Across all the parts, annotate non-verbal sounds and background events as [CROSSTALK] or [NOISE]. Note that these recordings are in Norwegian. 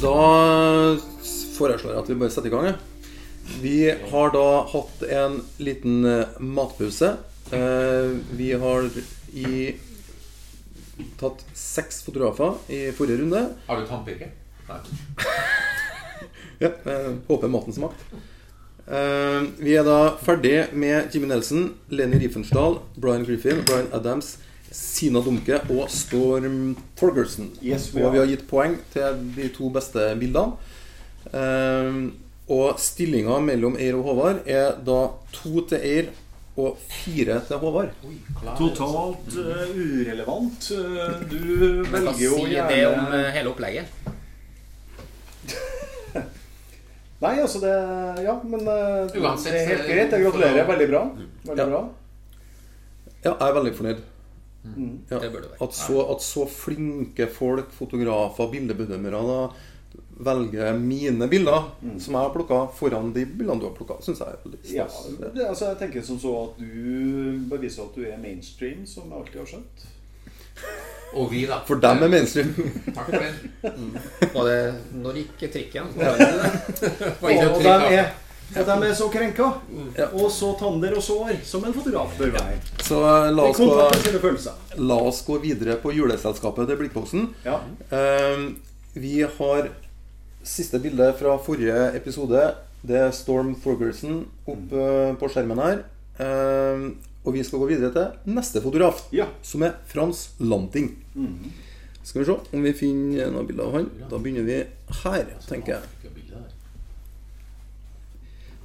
da foreslår jeg at vi bare setter i gang. jeg. Vi har da hatt en liten eh, matpause. Eh, Vi har i tatt seks fotografer i forrige runde. Har du tannpirke? Nei. Ja, eh, håper maten smakte. Eh, vi er da ferdig med Jimmy Nelson, Lenny Riefensdahl, Brian Griffin, Brian Adams, Sina Dumke og Storm Torgersen. Yes, og vi har gitt poeng til de to beste bildene. Eh, og stillinga mellom Eir og Håvard er da to til Eir og fire til Håvard. Totalt eh, urelevant. Eh, Du Men hva velger jo sier det om gjerne eh, hele opplegget? Nei, altså det Ja, men eh, Uansett, det er helt så- greit. Jeg gratulerer. Veldig bra. Mm. Ja. Veldig bra. Ja, jeg er veldig fornøyd. Ja, Det burde det være. at, så, at så flinke folk, fotografer, bildebedømmere da, velger mine bilder, som jeg har plukka, foran de bildene du har plukka, syns jeg er veldig Ja, stas. Det- det, altså jeg tenker som så at du beviser at du er mainstream, som jeg alltid har skjønt. Og vi, da. For dem er mainstream. Takk for den. Var det, når gikk trikken? Var ikke Og noe de trykk, da. er, og de er så krenka, og så tander og sår, som en fotograf bør være. Så eh, la I oss, kontakt med gå, sine følelser. la oss gå videre på juleselskapet til Blikkboksen. Ja. Ehm, vi har siste bilde fra forrige episode. Det er Storm Thorgerson oppe på skjermen her. Ehm, og vi skal gå videre til neste fotograf, Ja. som er Frans Lanting. Skal vi se om vi finner noen bilder av han. Da begynner vi her, tenker jeg. Fikk jo bildet der.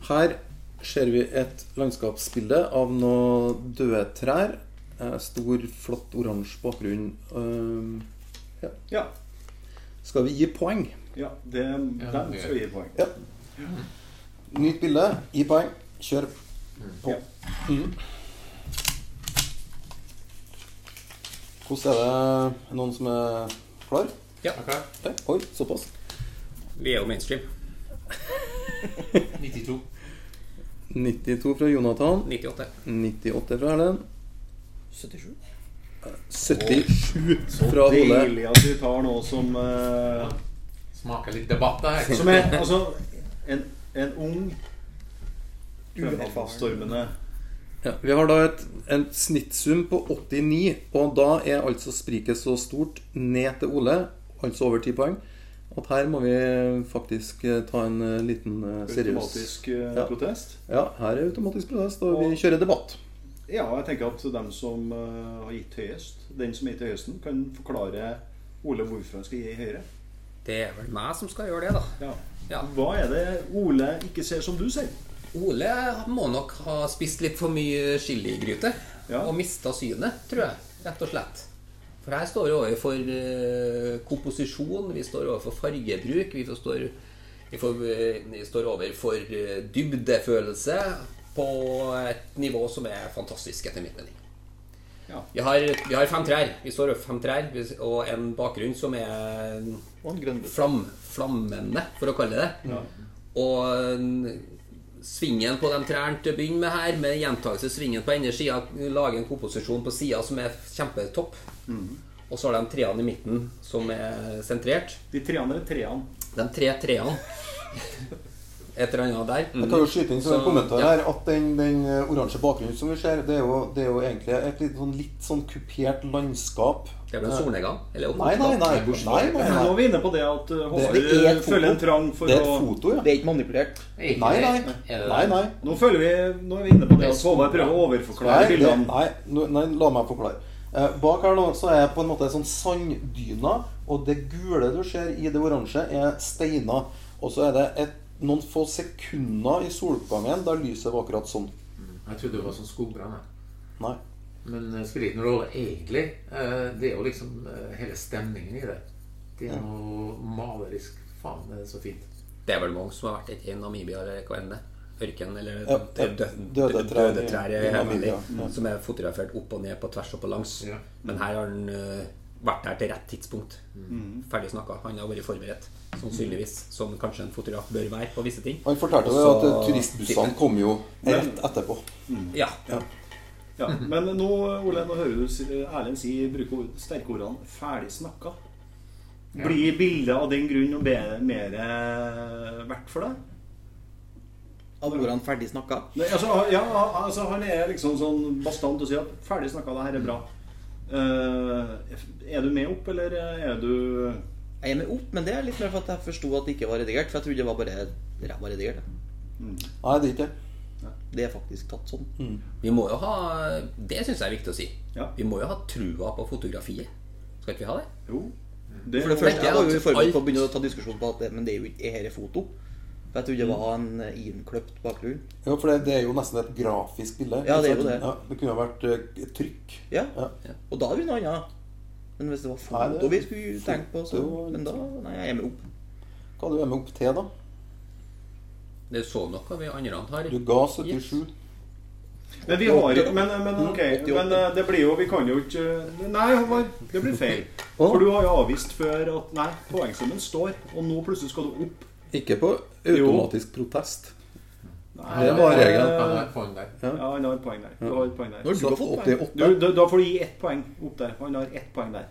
Her ser vi et landskapsbilde av noen døde trær. Eh, Stor, flott oransje bakgrunn. Ehm, Ja. skal vi gi poeng? ja det, dem skal vi gi poeng. Ja. Nytt bilde. Gi poeng. Kjør på. Ja. Hvordan er det Noen som er klar? Ja, Takk. Der. Oi, såpass. [LAUGHS] vi er jo mainstream. 92. 92 fra Jonathan. 98. 98 fra Erlend. 77. 77 Så fra Ole. deilig at vi tar noe som eh, Smaker litt debatt, da. her. Som er altså en, en ung Uerfarenstormende Ja, vi har da et, en snittsum på 89, og da er altså spriket så stort ned til Ole, altså over 10 poeng, at her må vi faktisk eh, ta en eh, liten eh, seriøs automatisk eh, Ja. protest. Ja, her er automatisk protest, og Og- vi kjører debatt. Ja, jeg tenker at dem som eh, har gitt høyest, den som er til høyesten, kan forklare Ole hvorfor han skal gi høyere. Det er vel meg som skal gjøre det, da. Ja. Ja. Hva er det Ole ikke ser som du ser? Ole må nok ha spist litt for mye chiligryte Ja. og mista synet, tror jeg. Rett og slett. For her står vi overfor eh, komposisjon, vi står overfor fargebruk, vi, forstår, vi, får, eh, vi står overfor eh, dybdefølelse på et nivå som er fantastisk, etter min mening. Ja. Vi har, vi har fem trær. Vi står over fem trær vi- og en bakgrunn som er Og en grønn flam, flammende, for å kalle det det. Og en- svingen på de trærne til å begynne med her, med gjentagelse svingen på ene sida, lager en komposisjon på sida som er kjempetopp. Mhm. Og så har de trærne i midten som er sentrert. De treene eller treene? De tre [LAUGHS] trærne Et eller annet der. Mm. Jeg kan jo skyte inn som en Så, kommentar ja. her at den, den eh, oransje bakgrunnen som vi ser, det er jo, det er jo egentlig et litt sånn, litt sånn kupert landskap. Det er vel en solnedgang? Eller Nei, nei, nei. nei, nei, Nå nei. er vi inne på det at eh, Det er Håvard et føler en foto. trang for Det er et å foto, ja. Det er ikke manipulert. Nei, nei. Er det Nei, nei. Nå føler vi, nå er vi inne på det at Håvard prøver å Nei, overforklare det, bildene. nei, nå- nei, la meg forklare. Eh, bak her nå så er jeg på en måte en sånn sanddyna, og det gule du ser i det oransje, er steiner. Og så er det et, noen få sekunder i soloppgangen der lyset var akkurat sånn. Jeg trodde det var sånn skogbrann. jeg. Nei. Men det spiller ingen rolle egentlig. Eh, Det er jo liksom eh, hele stemningen i det. Det er noe malerisk. Faen, det er så fint. Det er vel mange som har vært i Namibia eller hva enn det. Ørken eller Ja, dø- dø- døde trær døde i- trær i er Namibia, veldig- som er fotografert opp og ned, på tvers og på langs. Ja. Men her har han eh, vært der til rett tidspunkt. Ferdig snakka. Han har vært forberedt, sannsynligvis, som kanskje en fotograf bør være på visse ting. Han fortalte jo Og at så- eh, turistbussene kom jo rett etterpå. Ja. Ja. Men nå, Ole, nå hører du si- Erlend si bruke ord- sterke ordene 'ferdig snakka'. Blir bildet av den grunn og be- mer eh, verdt for deg? Alle ordene ferdig snakka. Nei, altså, ja, altså, han er liksom sånn bastant og sier at 'ferdig snakka, det her er bra'. Eh, er du med opp, eller er du Jeg er med opp, men det er litt mer for at jeg forsto at det ikke var redigert. For jeg trodde det var bare ræva redigert. jeg. Nei, det er ikke det. Det er faktisk tatt sånn. Vi må jo ha Det syns jeg er viktig å si. Ja. Vi må jo ha trua på fotografiet. Skal ikke vi ha det? Jo. Mm. Det, For det første, jeg var jo Alt- forberedt på å begynne å ta diskusjon på at det, men det er jo ikke her er foto. For jeg trodde Mm. det var en eh, innkløpt bakgrunn. Ja, for det, det er jo nesten et grafisk bilde. Ja, det er jo det. Ja, det kunne ha vært eh, et trykk. Ja. Ja. Og da er det noe annet. Men hvis det var Nei, det- foto vi skulle tenke på, så foto- sånn. Men da Nei, jeg er med opp. Hva du er med opp til, da? Det er sånn noe vi andre har. Du ga 77. Men vi har ikke Men, men Mm, ok, men eh, det blir jo Vi kan jo ikke Nei, Håvard, det blir feil. For du har jo avvist før at Nei, poengsummen står, og nå plutselig skal du opp. Ikke på automatisk protest. Nei, Det var regelen. Han har et poeng der. Ja, han har et poeng der. Du har et poeng der. Når du Så har fått opp poeng. til åtte. Du, da, da får du gi ett poeng opp der. Han har ett poeng der.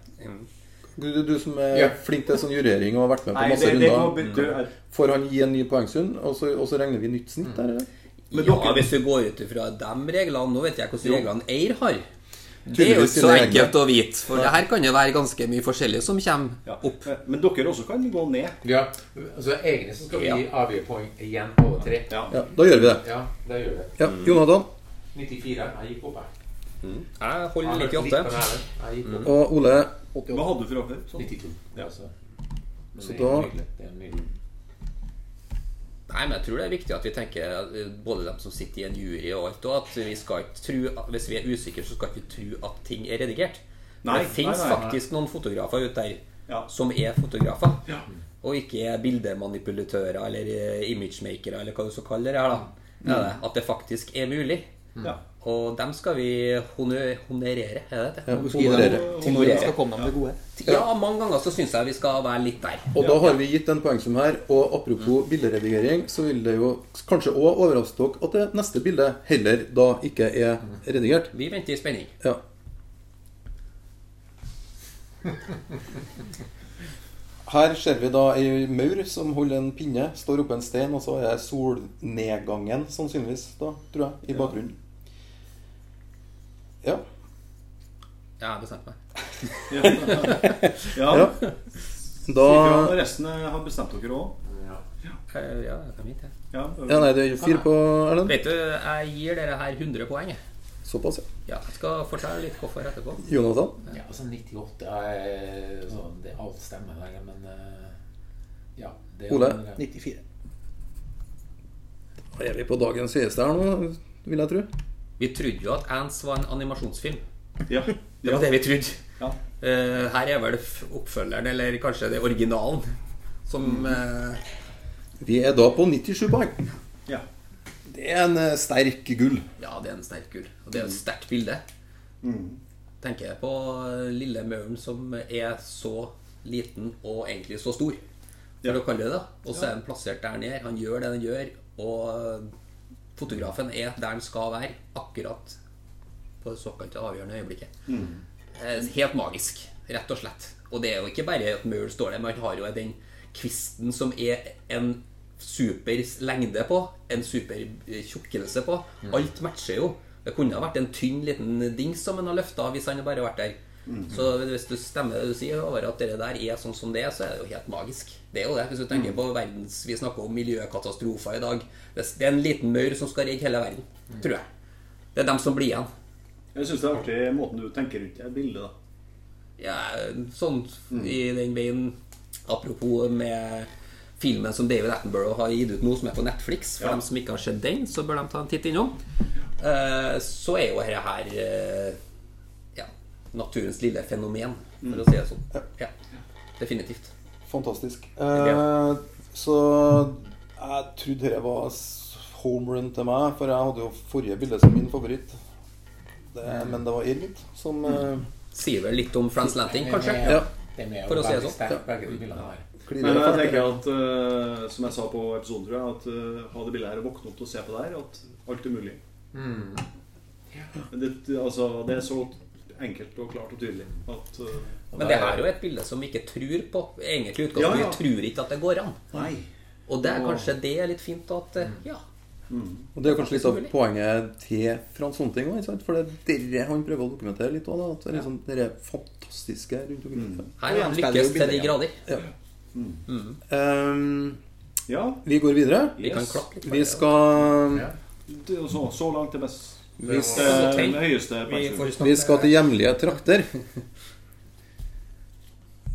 Du, du, du som er Ja. flink til sånn jurering og har vært med på Nei, masse det, det må runder. bytte her. Får han gi en ny poengsum, og, så- og så regner vi nytt snitt der? eller? Ja, hvis du går ut ifra de reglene Nå vet jeg hvordan reglene Eir har. Det er jo Tydeligvis ikke så sine egne. enkelt å vite, for det her kan jo være ganske mye forskjellig som kommer Ja. opp. Men dere også kan gå ned. Ja, så egentlig så skal vi Ja. avgi poeng igjen på tre. Ja. Ja, da gjør vi det. Ja, det gjør vi. Ja, Jonathan 94. Jeg gikk opp, jeg. Jeg Jeg holder hørte litt på den 98. her. Jeg gikk opp. og Ole. Hva hadde du fra før? Sånn. 92. Ja, så. Altså. Men Så det er da- nydelig. Det er nydelig. Nei, men jeg tror det er viktig at vi tenker, eh, både dem som sitter i en jury og alt, og at vi skal ikke tro, at- hvis vi er usikre, så skal vi ikke tro at ting er redigert. Nei, det finnes nei, nei, nei. faktisk noen fotografer ute der Ja. som er fotografer, og ikke er bildemanipulatører eller eh, imagemakere, eller hva du skal kalle det her, da. Ja, det, Mm. at det faktisk er mulig. Ja. Og dem skal vi honø- honorere, er det det? Ja, Gi dem- honorere. Tiden honorere. skal komme dem til gode. Ja, mange ganger så syns jeg vi skal være litt der. Og da har vi gitt en poengsum her. Og apropos bilderedigering, så vil det jo kanskje òg overraske dere at det neste bildet heller da ikke er redigert. Vi venter i spenning. Ja. [LAUGHS] Her ser vi da ei maur som holder en pinne, står oppå en stein, og så er solnedgangen sannsynligvis da, tror jeg, i bakgrunnen. Ja. Jeg har bestemt meg. ja. Da Ifra når resten eh, har bestemt dere òg. Ja. Eh, Ja, det kan vi ikke. Ja, Ja, nei, det er jo fire på Erlend. Vet du, jeg gir dere her 100 poeng. jeg. Såpass, ja. Ja, jeg skal fortelle litt hvorfor etterpå. Jonathan. Ja, altså 98 er sånn det, Alt stemmer der, men eh, ja det er Ole? noe med det. 94. Da er vi på dagens høyeste her nå, vil jeg tro. Vi trodde jo at Ants var en animasjonsfilm. ja. Det ja. var det vi trodde. ja. Eh, her er vel f- oppfølgeren, eller kanskje det originalen, som eh, Vi er da på 97 poeng. ja. Det er en eh, sterk gull. Ja, det er en sterk gull. Og det er jo Mm. et sterkt bilde. Tenker jeg på eh, lille mauren som er så liten og egentlig så stor. Ja. For å kalle det det. Og så er den plassert der nede. Han gjør det han gjør. Og eh, fotografen er der han skal være, akkurat på det såkalte avgjørende øyeblikket. Eh, Helt magisk, rett og slett. Og det er jo ikke bare at mauren står der, men han har jo den kvisten som er en super lengde på, en super eh, tjukkelse på. Alt matcher jo. Det kunne ha vært en tynn liten dings som han har løfta hvis han bare hadde vært der. Så hvis du stemmer det du sier over at det der er sånn som det er, så er det jo helt magisk. Det er jo det. Hvis du tenker på verdens Vi snakker om miljøkatastrofer i dag. Det det er en liten maur som skal redde hele verden, tror jeg. Det er dem som blir igjen. Jeg syns det er artig måten du tenker rundt det bildet da. ja, sånn i den veien Apropos med filmen som David Attenborough har gitt ut nå, som er på Netflix. For dem som ikke har sett den, så bør de ta en titt innom. Eh, Så er jo dette her eh, ja, naturens lille fenomen, for å si det sånn. Ja, definitivt. Fantastisk. Ja. Eh, så jeg trodde dette var s- home run til meg, for jeg hadde jo forrige bilde som min favoritt. Det, men det var Irmit som Mm. eh, Sier vel litt om Frans Lanting, kanskje? Ja. Den er jo For å si det veldig sånn. sterk, begge de bildene her. klirret Men jeg fælt. tenker at, eh, som jeg sa på episoden, tror jeg, at eh, ha det bildet her og våkne opp til å se på det her, at alt er mulig. Men Det, altså, det er så enkelt og klart og tydelig. At, eh, Men det her er jo et bilde som vi ikke tror på. Egentlig i Ja, utgangspunktet ja. vi tror ikke at det går an. nei. Og det er kanskje det er litt fint at eh, Ja. Og det er kanskje litt av poenget til Frans Honting òg, for det er det han prøver å dokumentere litt òg. At det er liksom det der fantastiske rundt omkring. Mm. Her er han han spiller jo lykkes til de bilder, ja. grader. Ja. Ehm, Ja, vi går videre. Vi kan Yes. klappe litt. Vi skal, Ja. det er jo så, så langt det beste. vi Det skal, er Så tenk. den høyeste Vi får pensjonen. snakke- vi skal til hjemlige trakter.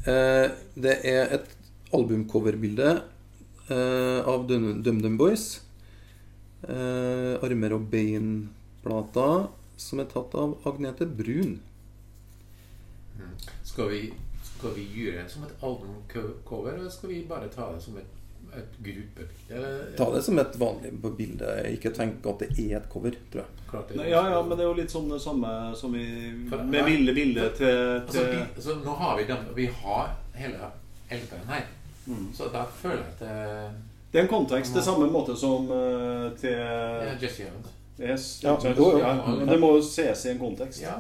Eh, det er et albumcoverbilde eh, av Dum- DumDum Boys. Eh, armer og bein-plata som er tatt av Agnete Brun. Skal vi, skal vi gjøre det som et albumcover, eller skal vi bare ta det som et, et gruppebilde? eller- Ta det som et vanlig bilde. Ikke tenk at det er et cover, tror jeg. Klart det- Nei, Ja, ja, men det er jo litt sånn det samme som vi For- Med ville bilde til, Altså, til vi, altså, nå har vi den, vi har hele LP-en her. Mm. Så da føler jeg at eh, Det er en kontekst det samme måte som eh, til det er Jesse Evans. Yes, Ja, ikke sant? jo, jo. Ja, men det må jo ses i en kontekst. Ja,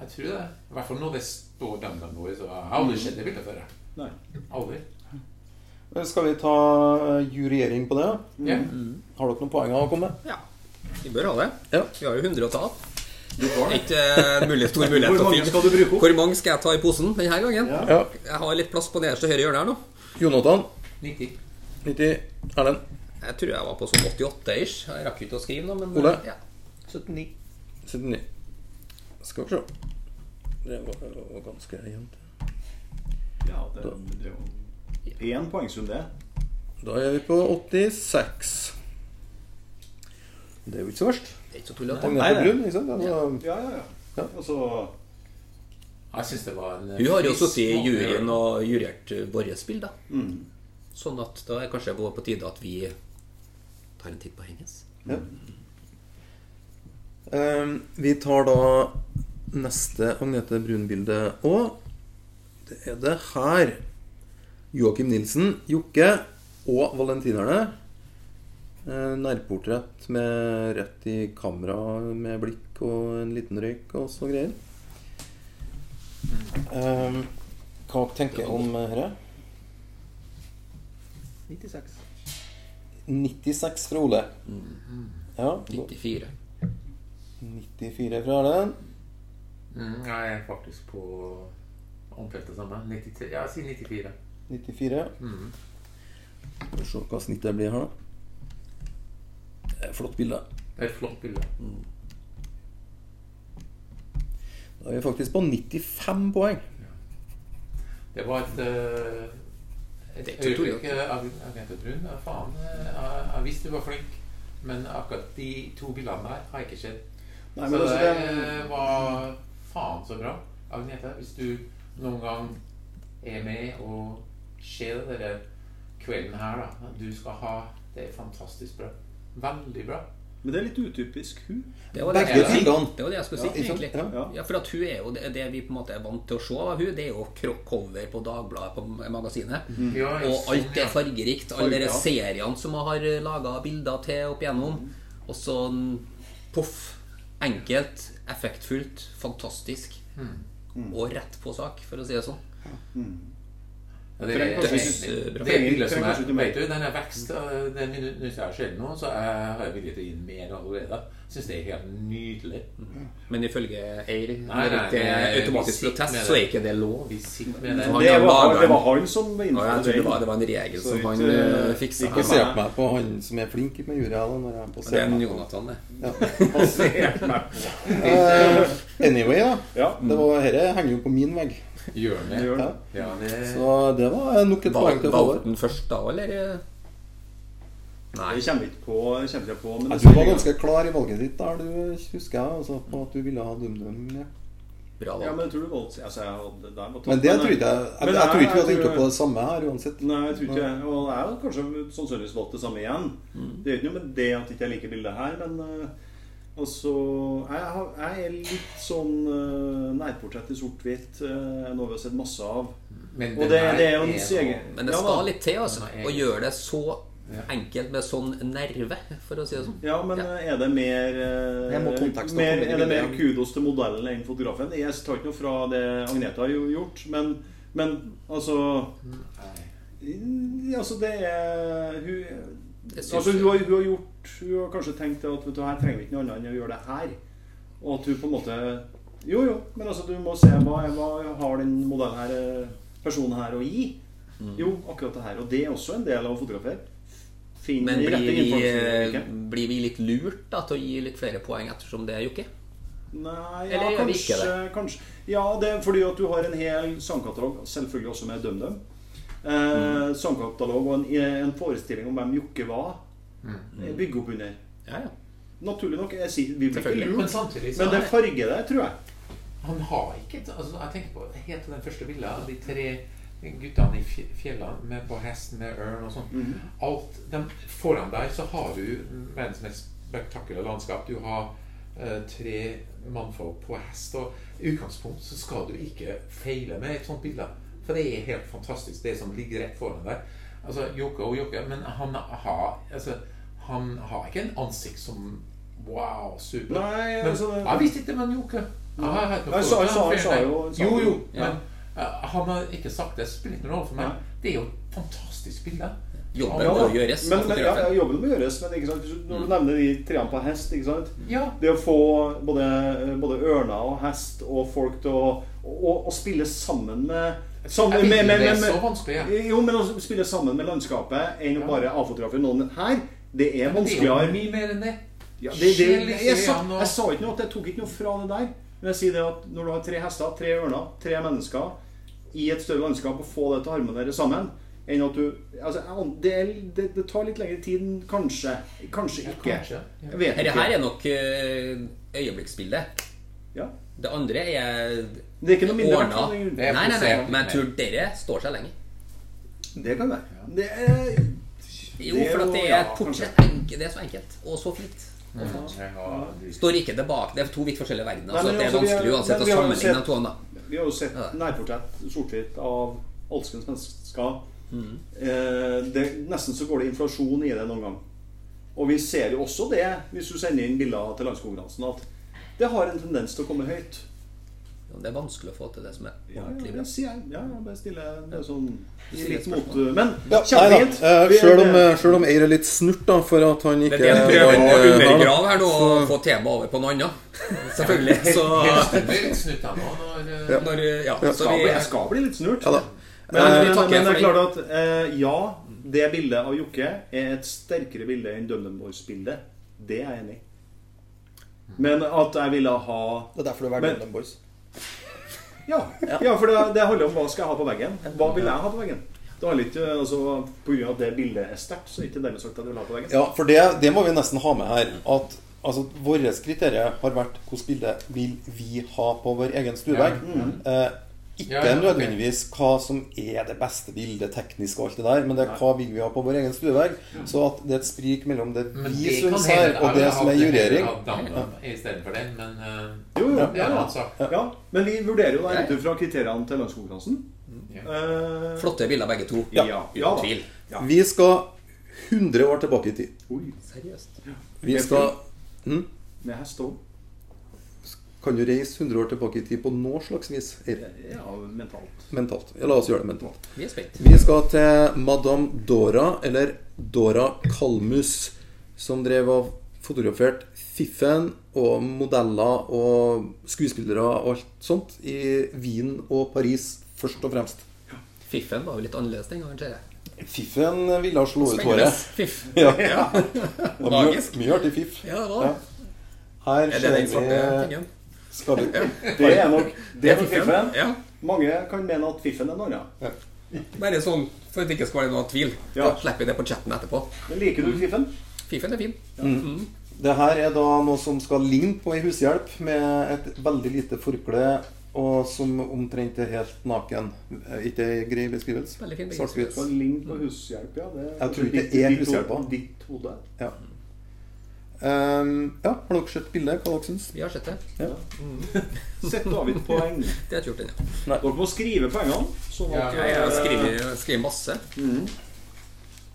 jeg tror det. I hvert fall når det står DumDum Boys. Og jeg har aldri sett det bildet før. jeg. Nei. Aldri. Skal vi ta juriering på det? Ja. Har dere noen poeng å komme med? Ja. Vi bør ha det. Ja. Vi har jo 100 å ta av. har det. Ikke eh, mulig, stor mulighet Hvor til å mange finne. skal du bruke opp? Hvor mange skal jeg ta i posen denne gangen? Ja. Ja. Jeg har litt plass på nederste høyre hjørne her nå. 90. 90. Erlend. Jeg tror jeg var på sånn 88-ish. Jeg rakk ikke å skrive noe, men eh, Ole? Ja. 79. 79. Skal vi se. Det var jo ganske jevnt. Ja, det, det er jo én poengsum, det. Da er vi på 86. Det er jo ikke så verst. Det er ikke så tullete. Agnete Brun, ikke sant? Det var- Ja, ja, ja. Altså Jeg syns det var en Hun har jo frisk sittet i måte å gjøre det juryen og jurert eh, våre spill, da. Mm. Sånn at da er kanskje på på tide at vi tar en titt på hennes. Ehm, vi tar da neste Agnete Brun-bilde òg. Det er det her. Joakim Nilsen, Jokke og Valentinerne. Eh, nærportrett med rett i kamera med blikk og en liten røyk og så greier. Ehm, hva tenker jeg om eh, dette? 96. 96 fra Ole. Ja. 94. 94 fra Erlend. Mm, jeg er faktisk på omtrent det samme. 93, ja, jeg sier 94. 94. Skal vi se hva snittet blir her, da. Det er et flott bilde. Det er et flott bilde. Da er vi faktisk på 95 poeng. Det var et eh, et Det er ikke øyeblikk eh, av Agnete Brun. Ja, faen, eh, jeg, jeg visste du var flink, men akkurat de to bildene der har jeg ikke sett. Nei, så men altså, det det, eh, var faen så bra. Agnete, hvis du noen gang er med og ser det denne kvelden her, da. Du skal ha Det er fantastisk bra. Veldig bra. men det er litt utypisk hun. Det var det, Begge jeg- bildene. det var det jeg skulle si, ikke sant? egentlig. Ja, ja. Ja, for at hun er jo det, det vi på en måte er vant til å se av hun, det er jo kro- cover på Dagbladet på magasinet. Mhm. Ja, Og sånn, alt ja. er fargerikt. Alle Farger. de seriene som hun har laga bilder til opp igjennom. Og sånn poff. Enkelt, effektfullt, fantastisk. Mhm. Og rett på sak, for å si det sånn. Ja, Det Trenger er kanskje ikke- det bra. er et bilde som Trenger kanskje er ikke Mm. mer. Vet du, den er vekst øh, Den nytt jeg ser nå, så jeg har jeg vilje til å gi den mer allerede. Syns det er helt nydelig. Men ifølge Eir, Nei, nei, det er vi automatisk sitter protest, med så er det. ikke det lov. Vi sitter med den. Han Det har var, laget det den. var han som var Og jeg innførte tror det den. var, det var en regel Så som han ikke- eh, fiksa. Ikke se på meg på han som er flink med jury. da, når jeg Det passerer er en meg. Jonathan, det. [LAUGHS] Eh, Anyway, da. Ja. Det var, dette henger jo på min vegg. Gjør det. Gjør det. Ja. Ja, det Så det var nok et poeng Val- til Valgte Håvard. den først da, eller? Nei. Jeg kommer ikke på, jeg kommer ikke på men Ja, det Du var sier- ganske klar i valget ditt der, du husker jeg. Altså, på at du ville ha DumDum. Ja. Bra Ja, valg. men jeg tror du valgte altså, jeg hadde, der var topp, Men det men, tror ikke jeg Jeg, men jeg tror jeg- ikke vi hadde jeg gjort tror- opp på det samme her uansett. Nei, jeg tror ikke jeg Og jeg hadde kanskje sannsynligvis valgt det samme igjen. Det er jo ikke noe med det at jeg ikke liker bildet her, men eh, altså jeg, har- jeg er litt sånn eh, nærportrett i sort-hvitt, eh, noe vi har sett masse av. men Og den det, her det er jo Mm. noe- en egen Men det Ja, skal da. litt til, altså. Nei, jeg- Å gjøre det så Enkelt med sånn nerve, for å si det sånn. Ja, men Ja. eh, er det mer, eh, Jeg må konteksten mer komme inn i Er det mer bildet igjen. kudos til modellen enn fotografen? Jeg tar ikke noe fra det Agnete har jo gjort, men, men altså Nei. i- Altså, det er Hun, Jeg synes altså, det. hun, har, hun har gjort Hun har kanskje tenkt at vet du, her trenger vi ikke noe annet enn å gjøre det her. Og at hun på en måte Jo, jo, men altså, du må se hva, hva har den modellen her eh, personen her å gi. Mm. Jo, akkurat det her. Og det er også en del av å fotografere. Finn Men de blir rette vi, eh, innfallsvinkelen. blir vi litt lurt da, til å gi litt flere poeng ettersom det er Jokke? Nei, ja, Eller gjør vi ikke kanskje, kanskje Ja, det er fordi at du har en hel sangkatalog, selvfølgelig også med DumDum. Eh, Sangkatalog og en, en forestilling om hvem Jokke var, eh, bygger opp under. Ja, ja. Naturlig nok. Jeg sier, vi blir ikke Selvfølgelig. Men lurt, samtidig så men det er- farger det, tror jeg. Han har ikke et- altså, Jeg tenker på helt til den første bildet av de tre guttene i fj- fjellene med, på hest med ørn og sånn. Mhm. Alt dem- Foran deg så har du verdens mest spektakulære landskap. Du har eh, tre mannfolk på hest, og i utgangspunkt så skal du ikke feile med et sånt bilde. For det er helt fantastisk, det som ligger rett foran deg. Altså, Jokke og Jokke, men han har altså, Han har ikke en ansikt som Wow, super. Nei, men, altså, det- jeg visste ikke det var en Jokke. Jeg har hørt noe Nei, sa- på det. sa- sa jo- sa jo, jo. jo, Ja. men eh, han har ikke sagt det. Spiller ikke noen rolle for meg. Nei. Det er jo et fantastisk bilde. Jobben Ja, må da. gjøres. Men, av men, ja, fotografen. ja, jobben må gjøres, men ikke sant? hvis du- når du nevner de treene på hest ikke sant? Ja. Det å få både, både ørner og hest og folk til å, å, å spille sammen med sammen, Jeg vet med, ikke, med, det er med, med så vanskelig, ja. Eh, Jo, men å spille sammen med landskapet enn å Ja. bare avfotografere noen her, det er Men det er jo vanskeligere. mye mer enn det. Ja, det, det, Skjell i jeg, sa, øynene og- jeg sa ikke noe at jeg tok ikke noe fra det der. Men jeg sier det at når du har tre hester, tre ørner, tre mennesker i et større landskap, og få det til å harmonere sammen enn at du altså, jeg an- det, er- det, det tar litt lengre tid enn kanskje. Kanskje Ja, ikke. kanskje. Ja. Jeg vet Dette her ikke. er nok eh, øyeblikksbildet. Ja. Det andre er Det er ikke noe mindre ordna. artig, det er- Nei, nei, nei, forsert. men jeg tror dere står seg lenge. Det kan være. Det er Jo, Det er for at det jo- er et ja, portrett. kanskje. enke- Det er så enkelt og så fint. Jeg har- Står ikke tilbake. Det er to vidt forskjellige verdener. Nei, Så men det er altså, vi er- vanskelig uansett men å vi har jo sett- sammenligne de to. da. Vi har jo sett Ja. nærportrett sort-hvitt av alskens mennesker. Mm. Eh, det, nesten så går det inflasjon i det noen gang. Og vi ser jo også det, hvis du sender inn bilder til landskonkurransen, at det har en tendens til å komme høyt. Jo, Det er vanskelig å få til det som er Ja, ordentlig ja, bra. det sier jeg. Ja, ja, bare stille det er sånn stiller litt et mot spørsmål. Men Ja, kjempefint. nei da. Eh, Vi- Selv om, eh, det- selv om Eir er litt snurt da, for at han ikke Men det prøver å han, eh, har- undergrave her nå og få temaet over på noe annet. [LAUGHS] Selvfølgelig. [LAUGHS] Så Det blir litt snutt av nå når eh, når Ja, så skal vi bli, jeg skal bli litt snurt. Ja da. Men, Eh, men, vi takker men det er for klart at eh, ja, det bildet av Jokke er et sterkere bilde enn DumDum Boys-bildet. Det er jeg enig i. Men at jeg ville ha Det er derfor det har Men- vært London Boys. Ja, ja for det, det handler om hva skal jeg ha på veggen. Hva vil jeg ha på veggen? Det handler ikke, altså, På grunn av at det bildet er sterkt, så er det ikke dermed sagt at jeg vil ha på veggen. Ja, for det, det må vi nesten ha med her. At altså, vårt kriterium har vært hvilket bilde vil vi ha på vår egen stuevegg. Eh, ikke Ja, ja, ok. nødvendigvis hva som er det beste bildet teknisk og alt det der, men det er hva vil vi ha på vår egen stuevegg. Så at det er et sprik mellom det Men vi kan syns hende her, jeg og det ville som hatt er det heller jurering. av Dammen istedenfor den, men eh, Jo, jo, det ja, er en annen ja. sak. ja. Men vi vurderer jo Ja, ja. det ut fra kriteriene til landskonkurransen. Ja. Eh, Flotte bilder, begge to. Ja. Ja, ja da. Uten tvil. Ja. Vi skal 100 år tilbake i tid. Oi, Seriøst. Vi skal hm? med hest og Kan du reise 100 år tilbake i tid på noe slags vis? Eir? Ja, mentalt. Mentalt. Ja, La oss gjøre det mentalt. Vi er spent. Vi skal til Madame Dora, eller Dora Kalmus, som drev og fotograferte Fiffen og modeller og skuespillere og alt sånt i Wien og Paris først og fremst. Fiffen var jo litt annerledes den gangen, ser jeg. Fiffen ville slå ut Spennende. håret. [LAUGHS] Fiff. [LAUGHS] Ja. Det var mye, Magisk. mye artig fiff. Ja, det var det. Her Er det ser den svarte vi tingen? skal vi, Det er nok det er nok fiffen. Ja. Mange kan mene at fiffen er en annen. Bare sånn for at det ikke skal være noen tvil. Ja. Da slipper vi det på chatten etterpå. Men liker du fiffen? Fiffen er fin. Det her er da noe som skal ligne på ei hushjelp med et veldig lite forkle og som omtrent er helt naken. Eh, Ikke ei grei beskrivelse? Veldig fin Svart-hvitt. På lign på hushjelp, ja. Det Jeg tror ikke det er ditt- ditt hushjelpa. hode- Ditt hode. Ja. Ehm, ja, har dere sett bildet? Hva dere syns? Vi har sett det. Sett David poeng. Det har jeg ikke gjort ennå. Dere må skrive poengene. Sånn at Ja, Jeg skriver, skriver masse.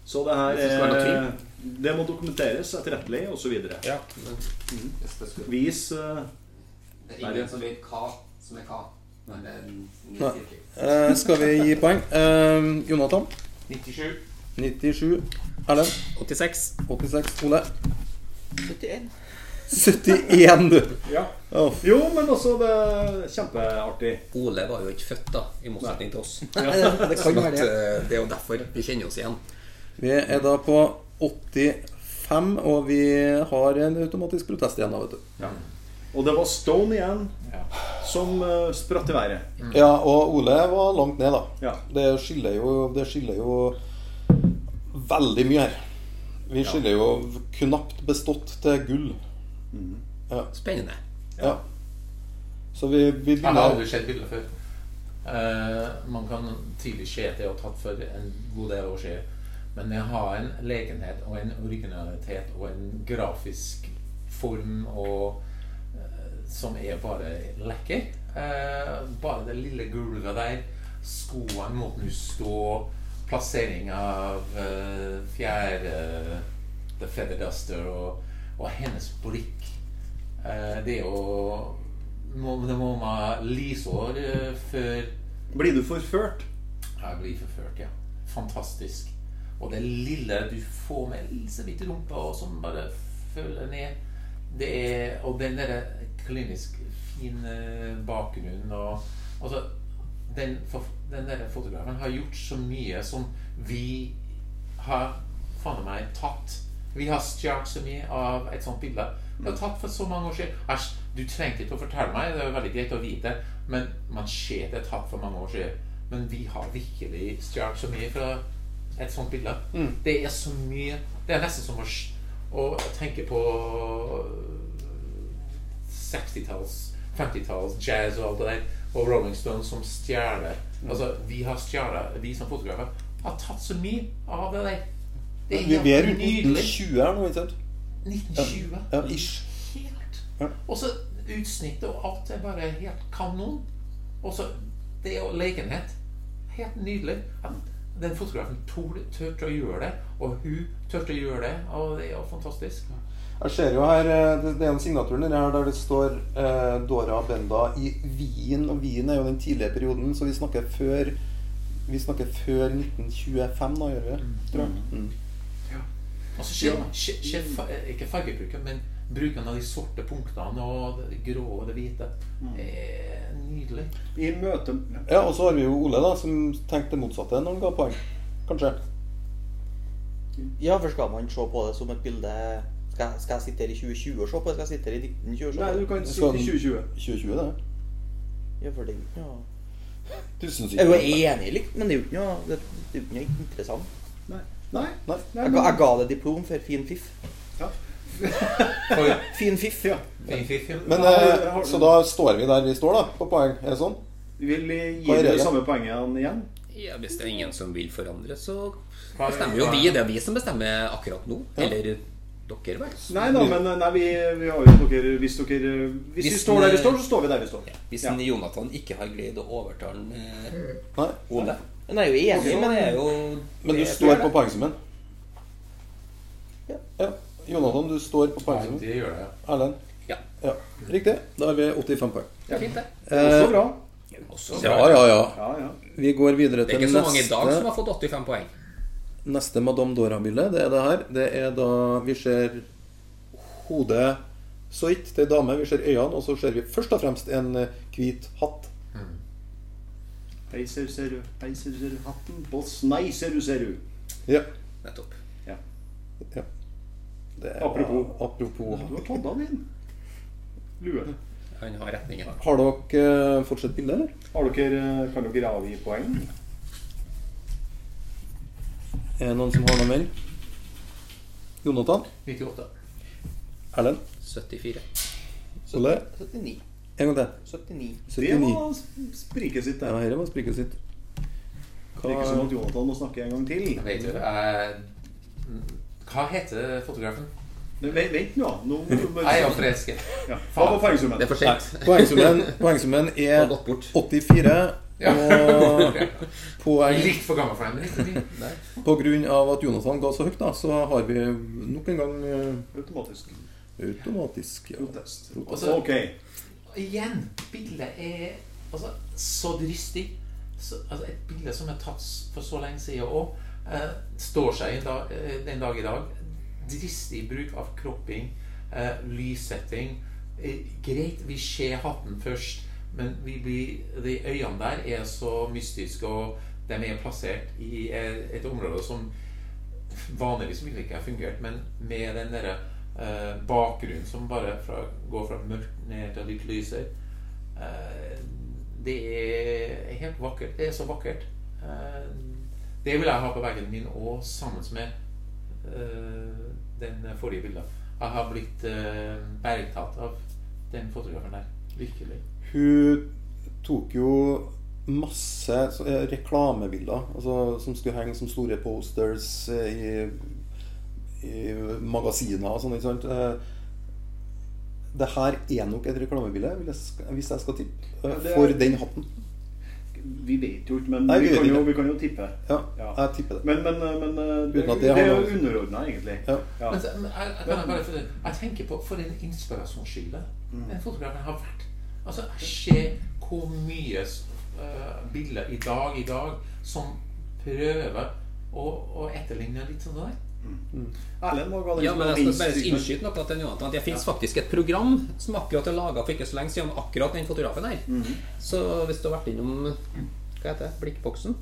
Så det her Det skal være noe eh, Det må dokumenteres etterrettelig, osv. Ja. Vis eh, Det er ingen som vet hva som er hva. Men det er en ny Nei. sirkel. Eh, skal vi gi poeng? Eh, Jonathan 97. 97. Erlend 86. 86. Ole 71. 71, du. Ja. Å, Jo, men også det er kjempeartig. Ole var jo ikke født, da, i motsetning til oss. Nei, det, det kan Sånn være at, det. eh, det er jo derfor vi kjenner oss igjen. Vi er da på 85, og vi har en automatisk protest igjen, da, vet du. Og det var Stone igjen Ja. som eh, spratt i været. Ja, og Ole var langt ned, da. Ja. Det skiller jo, det skiller jo veldig mye her. Vi skiller jo knapt bestått til gull. Spennende. Ja. Så vi, vi Jeg har begynner aldri sett bilder før. Eh, man kan tidlig se at jeg har tatt for en god del år siden. Men jeg har en lekenhet og en originalitet og en grafisk form og, eh, som er bare lekker. Eh, bare det lille gulvet der, skoene, måten du står, plassering av eh, fjær, eh, The Feather Duster og, og hennes blikk. Eh, det er jo må, Det må man lysår eh, før Blir du forført? jeg blir forført, ja. Fantastisk. Og det lille du får med en så vidt rumpe, og som bare følger ned det er, Og den derre klinisk fine bakgrunnen og Altså, den, for- den derre fotografen har gjort så mye som vi har faen meg tatt. Vi har stjålet så mye av et sånt bilde. Det har tatt for så mange år siden. Æsj, du trengte ikke å fortelle meg, det er jo veldig greit å vite, men man ser det er tatt for mange år siden. Men vi har virkelig stjålet så mye fra et sånt bilde. Det er så mye Det er nesten som å, s- å tenke på 60-talls, 50-talls jazz og alt det der, og Rolling Stones som stjeler. Mm. Altså, vi har stjålet, vi som fotografer har tatt så mye av det der. Det er Vi, vi er helt rundt nydelig. 1920 her nå, ikke sant? 1920. Ja, ish. Ja. Helt. Og så utsnittet og alt er bare helt kanon. Og så det og lekenhet. Helt nydelig. Han- Den fotografen torde, turte å gjøre det, og hun turte å gjøre det, og det er jo fantastisk. Jeg ser jo her, eh, det det er en signatur nede her der det står eh, Dora Benda i Wien. Og Wien er jo den tidlige perioden, så vi snakker før Vi snakker før 1925, da, gjør vi det? Tror jeg. Mm. Og så skjer, skjer, skjer fa- eh, ikke fargebruken, men bruken av de sorte punktene og det grå og det hvite. Eh, Nydelig. I møte Ja, og så har vi jo Ole, da, som tenkte det motsatte når han ga poeng. Kanskje. Ja, for skal man se på det som et bilde Skal, jeg- skal jeg sitte her i 2020 og se på det? Skal jeg sitte her i 1920 og se Nei, på du det? kan Sånn. sitte i 2020. 2020, det. Ja, for det er jo ikke noe Jeg er jo Tusensyke. enig, liksom, men det er jo ikke noe, det, det er jo ikke noe interessant. Nei. Nei. Nei. Jeg ga, jeg ga det diplom for fin fiff. Ja. fin fiff. Ja. Fin fiff, ja. Men, Ja, eh, har du- så da står vi der vi står, da, på poeng. Er det sånn? Vil vi Hva gi er deg regelen? samme poengene igjen? Ja, hvis det er ingen som vil forandre, så Hva- bestemmer jo vi. Det er vi som bestemmer akkurat nå. Eller dere, vel. Nei da, men eh, nei, vi, vi har jo dere Hvis dere Hvis, vi Hvis- står der vi står, så står vi der vi står. Hvis Ja. en Jonathan ikke har greid å overtale en, eh, Nei. Ole, Men jeg er jo enig, så men er jo Men du det- står på poengsummen? Ja. Ja. Jonathan, du står på Nei, poengsummen. det gjør det. Erlend? Ja. ja. Riktig. Da har vi 85 poeng. Fint, det. Eh, Så bra. Også, ja, ja, ja. Ja, ja. Vi går videre Det er til ikke så mange i dag som neste, har fått 85 poeng. neste Madame Dora-bilde. Det er det her. Det er da vi ser hodet så vidt til ei dame. Vi ser øynene, og så ser vi først og fremst en eh, hvit hatt. Hei, ser du, ser du. Hei, ser du, ser du. Hatten. Boss. Nei, ser du, ser du. Ja. Nettopp. Det er, Apropos. apropos Du har tatt av din lue. Han har retningen. Har dere eh, fortsatt bilde, eller? Har dere, eh, kan dere avgi poeng? Er det noen som har noe mer? Jonathan? 98. Erlend? 74. Ole? 79. En gang til. 79. Det 79. var spriket sitt, Ja, det. dette var spriket sitt. Det er ikke sånn at Jonathan må snakke en gang til. Vet du, eh, hva heter fotografen? Men Vent, vent nå. nå må du bare- Jeg er jo forelsket. Ja, Hva var poengsummen? Det er for sent. Poengsummen, poengsummen er Har gått bort. 84. [LAUGHS] Og poeng Litt for gammel for dem. men ikke mye. på grunn av at Jonathan ga så høyt, da, så har vi nok en gang eh, Automatisk automatisk ja. protest. Altså, Også- Ok. Og Igjen, bildet er altså, så dristig. Så, altså, et bilde som er tatt for så lenge siden òg, eh, står seg en dag, eh, den dag i dag. Dristig bruk av kropping, eh, lyssetting. Eh, greit, vi ser hatten først, men vi blir, de øynene der er så mystiske, og de er plassert i eh, et område som vanligvis ville ikke ha fungert, men med den derre eh, bakgrunnen som bare fra, går fra mørkt ned til litt lyser eh, Det er helt vakkert. Det er så vakkert. Eh, det vil jeg ha på veggen min òg, sammen med eh, den forrige bildet. Jeg har blitt eh, bergtatt av den fotografen der. Virkelig. Hun tok jo masse så- eh, reklamebilder altså, som skulle henge som store posters eh, i, i magasiner og sånn. ikke sant? Eh, Det her er nok et reklamebilde, vil jeg sk- hvis jeg skal tippe, eh, Ja, det er- for den hatten. Vi vet jo ikke, men Nei, vi vi, vet kan jo, ikke. vi kan jo tippe. Ja, Ja. jeg tipper det. Men, men, eh, men det, Uten at det det har er jo noe- underordna, egentlig. Ja. Ja. Men, men, jeg, jeg, kan jeg bare, få- jeg tenker på for en inspirasjonskilde den fotografen har vært. Altså, Jeg ser hvor mye eh, bilder i dag i dag som prøver å, å etterligne litt sånn der. Erlend må gå Ja, men jeg skal bare innskyte noe til Jonathan. at Det fins faktisk et program som akkurat er laga for ikke så lenge siden, om akkurat den fotografen her. Så hvis du har vært innom hva heter det, Blikkboksen,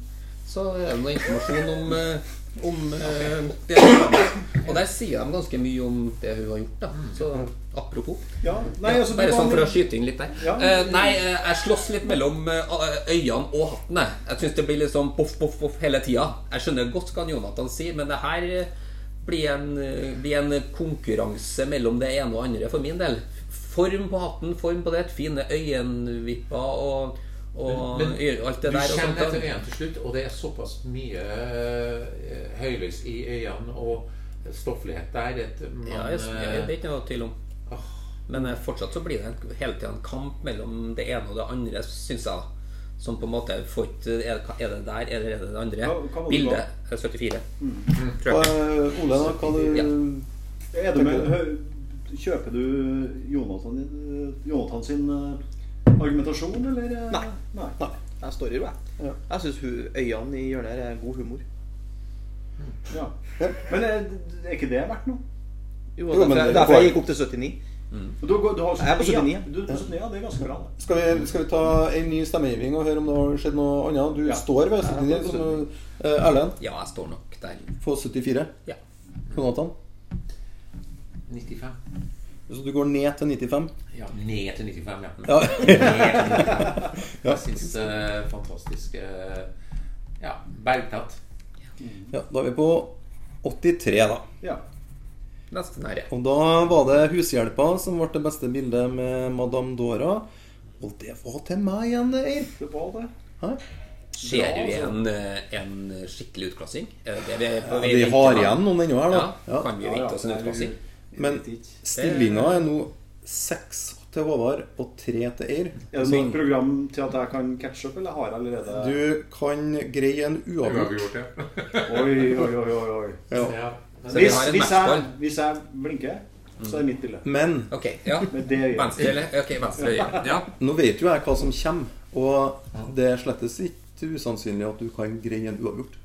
så er det noe informasjon om, eh, om eh, det. programmet. Og der sier de ganske mye om det hun har gjort, da. Så apropos. Ja. Nei, altså, du bare var sånn for å litt- skyte inn litt der. Ja. Eh, nei, eh, jeg slåss litt mellom eh, øynene og hatten. Jeg, jeg syns det blir litt sånn poff, poff, poff hele tida. Jeg skjønner godt hva Jonathan sier, men det her eh, blir en, eh, blir en konkurranse mellom det ene og andre for min del. Form på hatten, form på det, fine øyenvipper og, og Men- men øy- alt Du det der. Og kjenner sånt, etter da. øynene til slutt, og det er såpass mye eh, høylys i øynene og stofflighet der at man Ja, jeg, jeg, eh, det er ikke noe tvil om. åh, Men eh, fortsatt så blir det en, hele tida en kamp mellom det ene og det andre, syns jeg. Som på en måte får ikke Er det er det der, eller er det det andre? Hva- hva var det Bildet er 74. Mm. Og, eh, Ole, da, hva du Ja. Er det med, hø- kjøper du eh, Jonathan, Jonathan sin eh, argumentasjon, eller? eh? Nei. Nei. Nei, jeg står i ro, Ja. jeg. Jeg syns øynene i hjørnet her er god humor. Ja. Men er, er ikke det verdt noe? Jo, Jo, men derfor, det- jeg- derfor jeg gikk opp til 79. Du, går- du har Jeg er på 79, ja. Du er på 79, ja. Det er ganske bra. det. Skal vi, skal vi ta en ny stemmegivning og høre om det har skjedd noe annet? Du Ja. står ved Ja, jeg 79, står som eh, Erlend. Ja, jeg står nok der. På 74. Ja. Jonathan. 95. Så du går ned til 95? Ja, ned til 95, ja. Ja. Jeg syns eh, fantastisk eh, Ja, bergtatt. Ja, da er vi på 83, da. Ja. Nesten her, ja. Og da var det Hushjelpa som ble det beste bildet med Madame Dora. Og det var til meg igjen, det, Eir. Det var det. Hæ? Ser Bra, vi altså. en, eh, en skikkelig utklassing? Er det det vi er på vei Vi til, har da? igjen noen ennå her, Ja, da. Ja. Kan vi vente oss en utklassing? Men stillinga er nå seks til Håvard og tre til Eir. Er det noe program til at jeg kan catche opp, eller har jeg allerede Sånn. Du kan greie en uavgjort. Uavgjort, ja. Oi, oi, oi, oi, oi. Ja. ja. Men, Så vi Hvis, har en hvis, jeg, matchball. hvis jeg blinker, så er det mitt bilde. Men Ok, ja. Men det gjør jeg. Venstre, eller? Ok, venstre [LAUGHS] øye. Ja. nå vet jo jeg hva som kommer, og det er slettes ikke usannsynlig at du kan greie en uavgjort.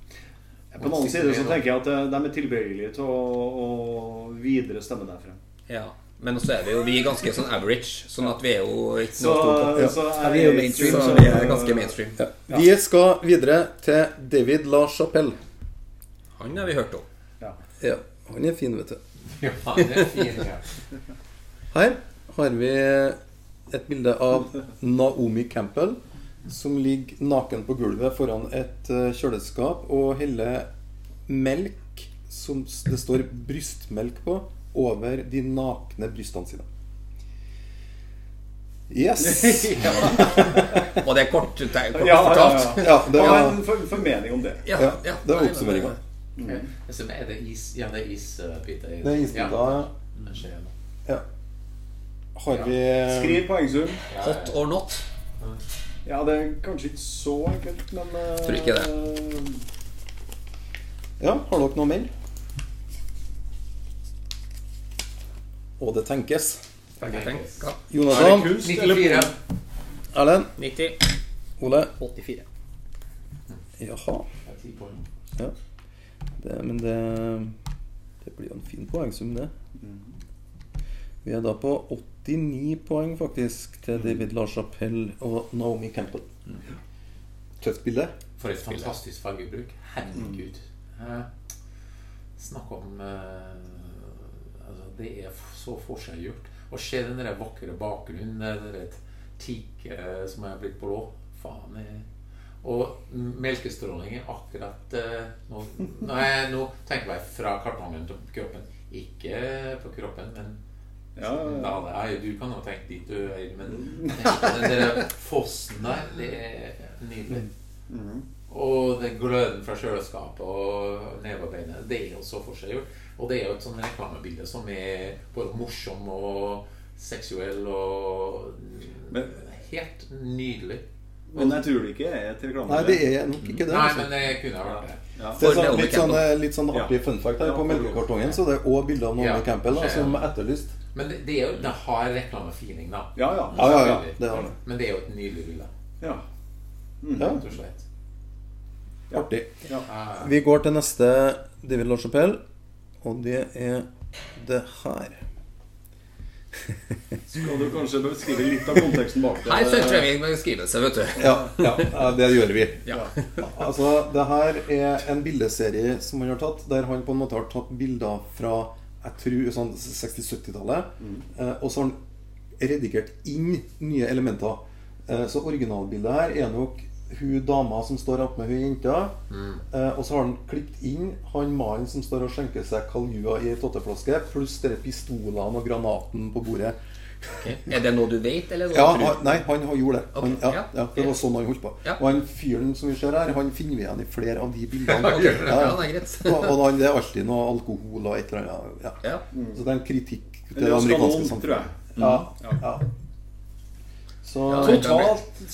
På den annen side så tenker jeg at eh, de er tilbøyelige til å, å videre stemme derfra. ja. Men så er vi jo vi er ganske sånn average, sånn at vi er jo ikke Så, noe stor på. så Ja, vi er jo mainstream, Så vi er ganske mainstream. Vi skal videre til David La Chapelle. Han har vi hørt om. Ja, han er fin, vet du. ja, det er fint, ja. Her har vi et bilde av Naomi Campbell som ligger naken på gulvet foran et eh, kjøleskap og heller melk som s- det står 'brystmelk' på, over de nakne brystene sine. Yes! [LAUGHS] Og det er kort, det er kort [LAUGHS] Ja, ja, fortalt. ja. Ja, det Hva er var, en for- formening om det? [LAUGHS] Ja, ja, ja. det var Nei, oppsummeringa. Så er det is eh, Ja, det er isbiter. Det er isbita. Har vi Skriv poengsum. Hot or not. Ja, det er kanskje ikke så enkelt, men eh, Tror ikke Ja, har dere noe mer? Og det tenkes. Begge ting. Ja. Er det Jonathan, kunst eller 94. Erlend, 90. Ole. 84. Jaha. Det er ti poeng. Ja. Det, men det, det blir jo en fin poengsum, det. Mm. Vi er da på 89 poeng, faktisk, til Mm. David LaChapelle og Naomi Campbell. Tøft bilde. For et fantastisk fargebruk. Herregud. Eh, Snakk om eh, altså, Det er f- så forskjellgjort. Å se den der vakre bakgrunnen, den der teaket som er blitt blå Faen. Jeg. Og melkestrålingen akkurat eh, nå, nei, nå tenker jeg fra kartongen til kroppen. Ikke på kroppen, men Ja, ja, ja, ja. det er, du kan jo tenke dit du er, Mm. men [LAUGHS] tenk på den der fossen der, det er nydelig. Mm. Og den gløden fra kjøleskapet og nevearbeidet, det er jo så forseggjort. Og det er jo et sånn reklamebilde som er både morsom og seksuell og Men- Helt nydelig. Men jeg tror det ikke er et reklame. Nei, det er nok ikke det. Nei, altså. men det kunne ha vært det. ja. Det er For sånn, Naomi litt, sånn, Campbell. eh, litt sånn artig fun fact her. Ja, På for- melkekartongen så er det òg bilder av Naomi Ja, Campbell da, skjer, ja. som er etterlyst. Men det, det er jo, det har reklamefeeling, da. Ja, ja. Ja, ja, ja. Selvfølgelig. Det har det. Men det er jo et nydelig bilde, ja. Ja, rett og slett. artig. Ah. Ja, ja. Vi går til neste David LaChapelle, og det er det her. Skal du kanskje beskrive litt av konteksten bak det? Her sentrer vi en beskrivelse, vet du. Ja, ja det gjør vi. Ja. [LAUGHS] Altså, det her er en bildeserie som han har tatt, der han på en måte har tatt bilder fra jeg tror sånn 60-70-tallet. eh, Og så har han redigert inn nye elementer. Eh, Så originalbildet her er nok hun dama som står attmed hun jenta. Eh, Og så har han klippet inn han mannen som står og skjenker seg kaljua i ei totteflaske, pluss de pistolene og granaten på bordet. Er det noe du vet, eller noe Ja, du han, tror? nei, han har gjort det. Han, Ok, ja, ja. ja, det var sånn han holdt på. Ja. Og han fyren som vi ser her, han finner vi igjen i flere av de bildene. [LAUGHS] Ok, ja, det er greit. og, og han, det er alltid noe alkohol og et eller annet. Ja. Ja. Så det er en kritikk til Eller det amerikanske skanon, tror jeg. samfunnet. Ja, ja. Så Ja, det- Totalt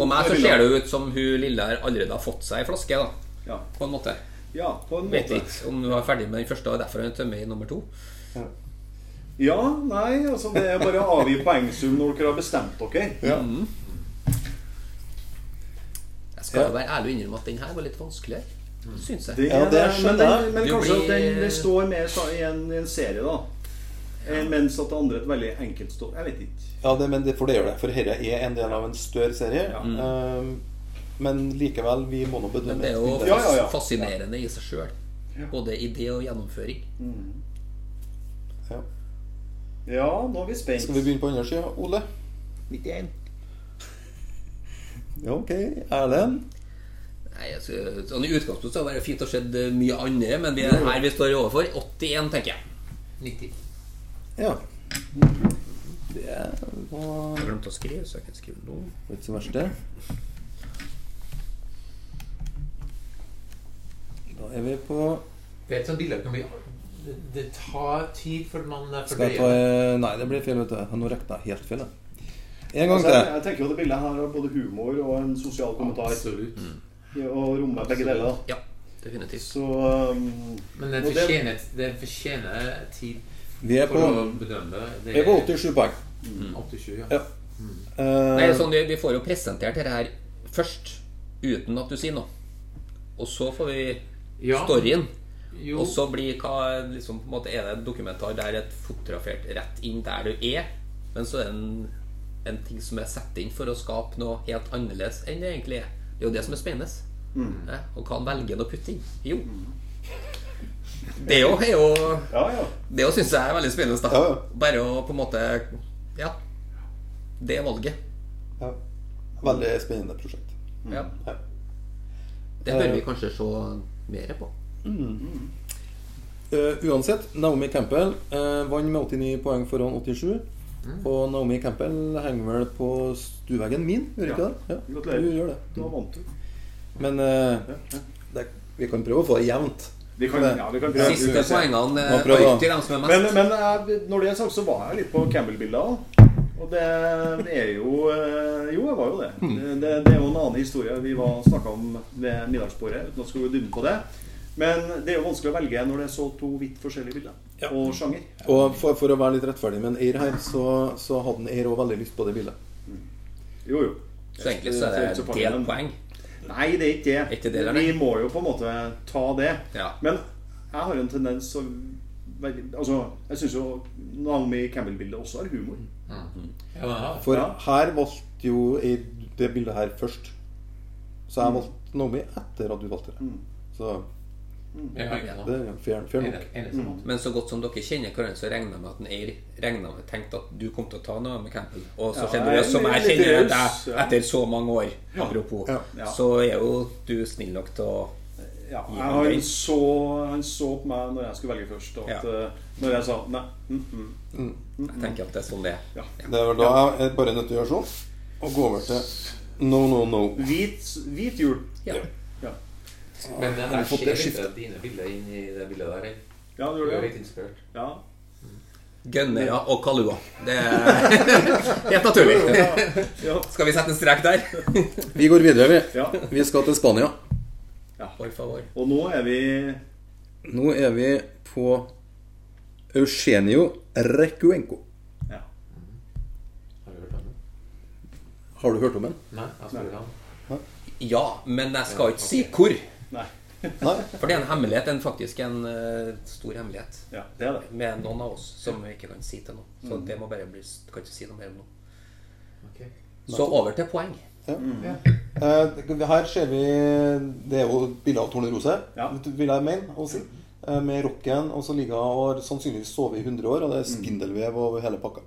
For meg så ser det ut som hun lille har allerede har fått seg ei flaske, da. ja. På en måte. ja, på en Vet måte. ikke om hun er ferdig med den første, og derfor hun tømmer i nummer to. Ja, nei, altså det er bare å avgi poengsum når dere har bestemt dere. Jeg skal jo være ærlig og innrømme at den her var litt vanskeligere, syns jeg. Det, Ja, det er- men skjønner den, jeg. men Du kanskje blir- at den det står mer sa- i en, i en serie, da. Eh, Mens at det andre er et veldig enkelt stoff. Jeg vet ikke. Ja, det, men det, for det gjør det. For dette er en del av en større serie. Ja. Eh, men likevel, vi må nå bedømme Men det er jo et bilde. Ja, ja, ja. fas- fascinerende i seg sjøl. Både idé og gjennomføring. Ja. Ja, nå er vi spent. Skal vi begynne på andre sida, Ole? 91. Ja, ok. Erlend? Nei, jeg skal, sånn I utgangspunktet så var det fint å se mye annet, men vi er her vi står overfor. 81, tenker jeg. 90. Ja. Det var Jeg glemte å skrive, så jeg kan skrive noe. Det var ikke så verst, det. Da er vi på Det er et sånt bilde som blir det, det tar tid før man Skal jeg ta fordøyer. Nei, det blir feil, vet du. Nå regna jeg helt feil. jeg. En gang Altså, jeg, til. jeg tenker jo det bildet her har både humor og en sosial kommentar. Absolutt. Og rommer begge deler. da Ja, definitivt. Så um, Men den Og det- fortjener, den fortjener tid Vi er for på, å bedømme det. vi er på 87 poeng. er 87, ja. Ja. Nei, Eh, sånn, vi, vi får jo presentert dette her først, uten at du sier noe. Og så får vi Ja. storyen. Jo, Og så blir hva liksom, på en måte, Er det en dokumentar der det er fotografert rett inn der du er, men så er det en, en ting som er satt inn for å skape noe helt annerledes enn det egentlig er. Det er jo det som er spennende. Ja, og hva han velger å putte inn. Jo. Det er jo, er jo Ja, ja. Det syns jeg er veldig spennende. da Ja, ja. Bare å på en måte Ja. Det er valget. ja. Veldig spennende prosjekt. Ja. Det bør vi kanskje se mer på. Eh, uansett, Naomi Campbell eh, vant med 89 poeng foran 87. Og Naomi Campbell henger vel på stueveggen min, gjør ikke Ja. det? Gratulerer. Du gjør det. Da vant du. Men eh, det, vi kan prøve å få det jevnt. Vi kan, ja, vi kan prøve. Siste Vi får se. poengene Må eh, prøve, tar da. ikke de som er mest. eh, Men, men jeg, når det er sagt, så var jeg litt på Campbell-bildet. også. Og det er jo eh, Jo, jeg var jo det. Hmm. Det, det, det er jo en annen historie vi snakka om ved middagsbordet. uten at vi skal gå i dybden på det. Men det er jo vanskelig å velge når det er så to vidt forskjellige bilder. Og sjanger. Og for, for å være litt rettferdig med en Eir her, så, så hadde en Eir òg veldig lyst på det bildet. Jo, jo. Så egentlig så er det delt poeng. Nei, det er ikke det. Ikke det, eller? vi må jo på en måte ta det. Ja. Men jeg har jo en tendens å veldig- Altså, jeg syns jo Naomi Campbell-bildet også har humor. Ja, men, ja. For Ja. her valgte jo Eir det bildet her først. Så jeg valgte Naomi etter at du valgte det. Så Jeg har ikke noe. det Mm. er fair, fair Er nok. det- er det sånn? Men så godt som dere kjenner hverandre, så regner jeg med at en Eir regnet med, tenkte at du kom til å ta noe med Campbell. Og så Ja, jeg er generøs som jeg litt kjenner raus, deg ja. etter så mange år, apropos, Ja. Ja. så er jo du snill nok til å Ja, Gi jeg, han han, den. så, han så på meg når jeg skulle velge først, at Ja. eh, når jeg sa nei mm, mm, Jeg tenker at det er sånn det er. Det er vel da jeg er bare nødt til å gjøre sånn og gå over til no, no, no. hvit, hvit jul Ja. Men den Har du der fått skjer det ikke skiftet? dine bilder inn i det bildet der. jeg. Ja, det Du gjør er det. litt inspirert. Ja. Gønnøya og Kalua. [LAUGHS] Det er helt naturlig. Ja. Skal vi sette en strek der? Vi går videre, vi. ja. Vi skal til Spania. Por favor. Og nå er vi Nå er vi på Eugenio Recuenco. ja. Har du hørt om den? Har du hørt om den? Nei, jeg spør han. Ja, men jeg skal ikke si hvor. Nei. Nei? For det er en hemmelighet. En, faktisk en eh, stor hemmelighet Ja, det er det. med noen av oss som vi ikke kan si til noen. Så Mm. det må bare bli Kan ikke si noe mer om nå. Ok. Så over til poeng. Eh, her ser vi Det er jo bilde av Tornerose, Ja. vil jeg mene å si. Eh, Med rocken, og så ligger hun og har sannsynligvis sovet i 100 år, og det er spindelvev over hele pakka.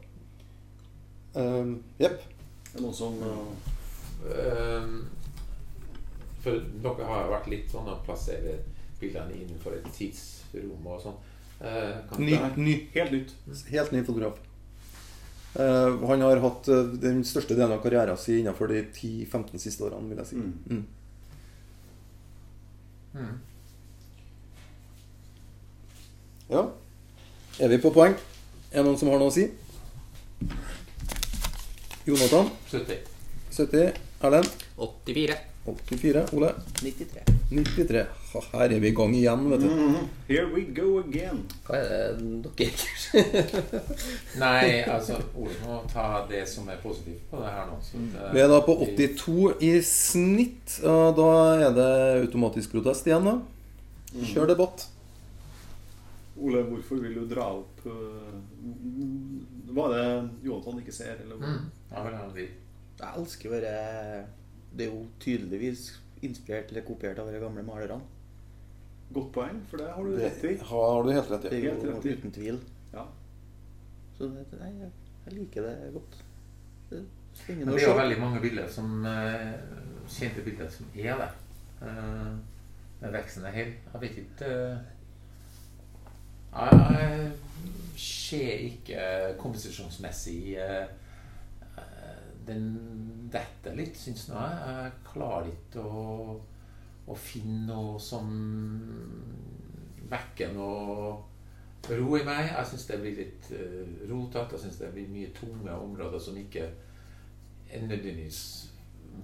Eh, Jepp. Det er noen som eh, Ehm, For dere har jo vært litt sånn å plassere bildene innenfor et tidsrom og sånn. Eh, kan Ny, dere- ny, Helt nytt. helt ny fotograf. Eh, han har hatt eh, den største delen av karrieren sin innenfor de 10-15 siste årene, vil jeg si. Mm. Ja. Er vi på poeng? Er det noen som har noe å si? Jonathan 70. 70. Erlend 84. 84. Ole 93. 93. Ha, Her er vi i gang igjen, vet du. Here we go again. Hva er det dere Nei, altså Ole må ta det som er positivt på det her nå. Så det, Vi er da på 82 i snitt. og Da er det automatisk protest igjen, da. Kjør debatt. Ole, hvorfor vil du dra opp eh, Hva er det Jonathan ikke ser? Eller? hvor- Mm. Ja, vel, ja, de- Jeg elsker å være Det er jo tydeligvis inspirert eller kopiert av de gamle malerne. Godt poeng, for det har du Det rett i. har du helt rett Det i. er Helt jo rett i. uten tvil. Ja. Så det, nei, jeg, jeg liker det godt. Det er Men spennende å det er jo se. veldig mange bilder som eh, kjente bilder som er der. Eh, men veksten er hel. Jeg vet ikke eh, Jeg jeg ser ikke komposisjonsmessig eh, eh, Den detter litt, syns nå jeg. Jeg klarer ikke å, å finne noe som vekker noe ro i meg. Jeg syns det blir litt eh, rotete. Jeg syns det blir mye tunge områder som ikke er nødvendigvis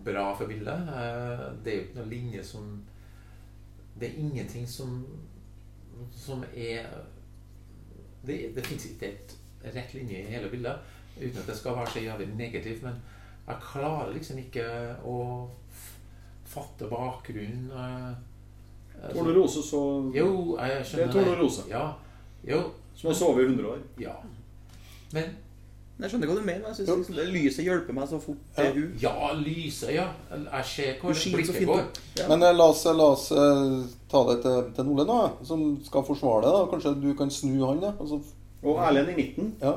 bra for bildet. Eh, Det er jo ikke noen linje som Det er ingenting som som er Det, det fins ikke et rett linje i hele bildet, uten at det skal være så jævlig negativt. Men jeg klarer liksom ikke å f- fatte bakgrunnen. eh, eh, Torne Rose så Jo, jeg skjønner Det er tornerose. Ja. Jo, Som har sovet i 100 år. ja. Men Men Jeg skjønner hva du mener. men Jeg synes liksom, det Lyset hjelper meg så fort det er hun. ja, lyset, ja. Jeg ser hvor Hun skinner så blikket fint. går. opp. Ja. Men eh, la oss, la oss eh, ta det til, til Ole nå, eh, som skal forsvare det. da. Kanskje du kan snu han? Ja. Altså, Og Erlend i midten. ja.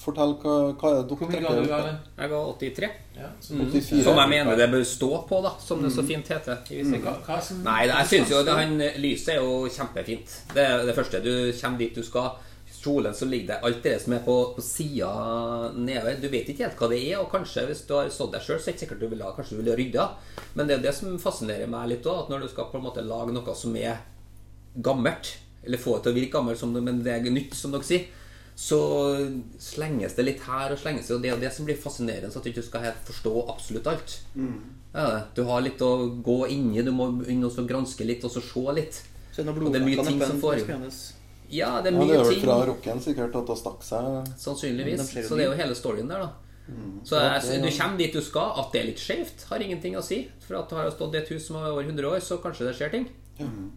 Fortell hva, hva er det Hvor dere mye ga du, trekker? Erlend? Jeg ga 83. Ja. så- 84. Som jeg mener det bør stå på, da. Som det så fint heter. i visse Hva, hva som, Mm. Nei, jeg synes jo det, han, eh, lyset er jo kjempefint. Det er det første. Du kommer dit du skal. Kjolen som ligger der, alt det som er på, på sida nedover. Du vet ikke helt hva det er, og kanskje hvis du har stått der sjøl, så er det ikke sikkert du vil ha Kanskje du vil ha rydda. Men det er jo det som fascinerer meg litt òg, at når du skal på en måte lage noe som er gammelt, eller få det til å virke gammelt, som, det- men det er nytt, som dere sier, så slenges det litt her og slenges det, og det er det som blir fascinerende, så at du ikke skal helt forstå absolutt alt. Ja, du har litt å gå inn i, du må begynne også å granske litt og så se litt. Så noen Og det er mye blodflekker ting neppe som en- foregår. spennende. Ja, det er Ja, mye det er vel ting. fra rocken sikkert at det stakk seg Sannsynligvis. Men de ser jo så det er jo hele storyen der, da. Så jeg, sy- du kommer dit du skal. At det er litt skjevt, har ingenting å si. For at det har jo stått i et hus som er over 100 år, så kanskje det skjer ting.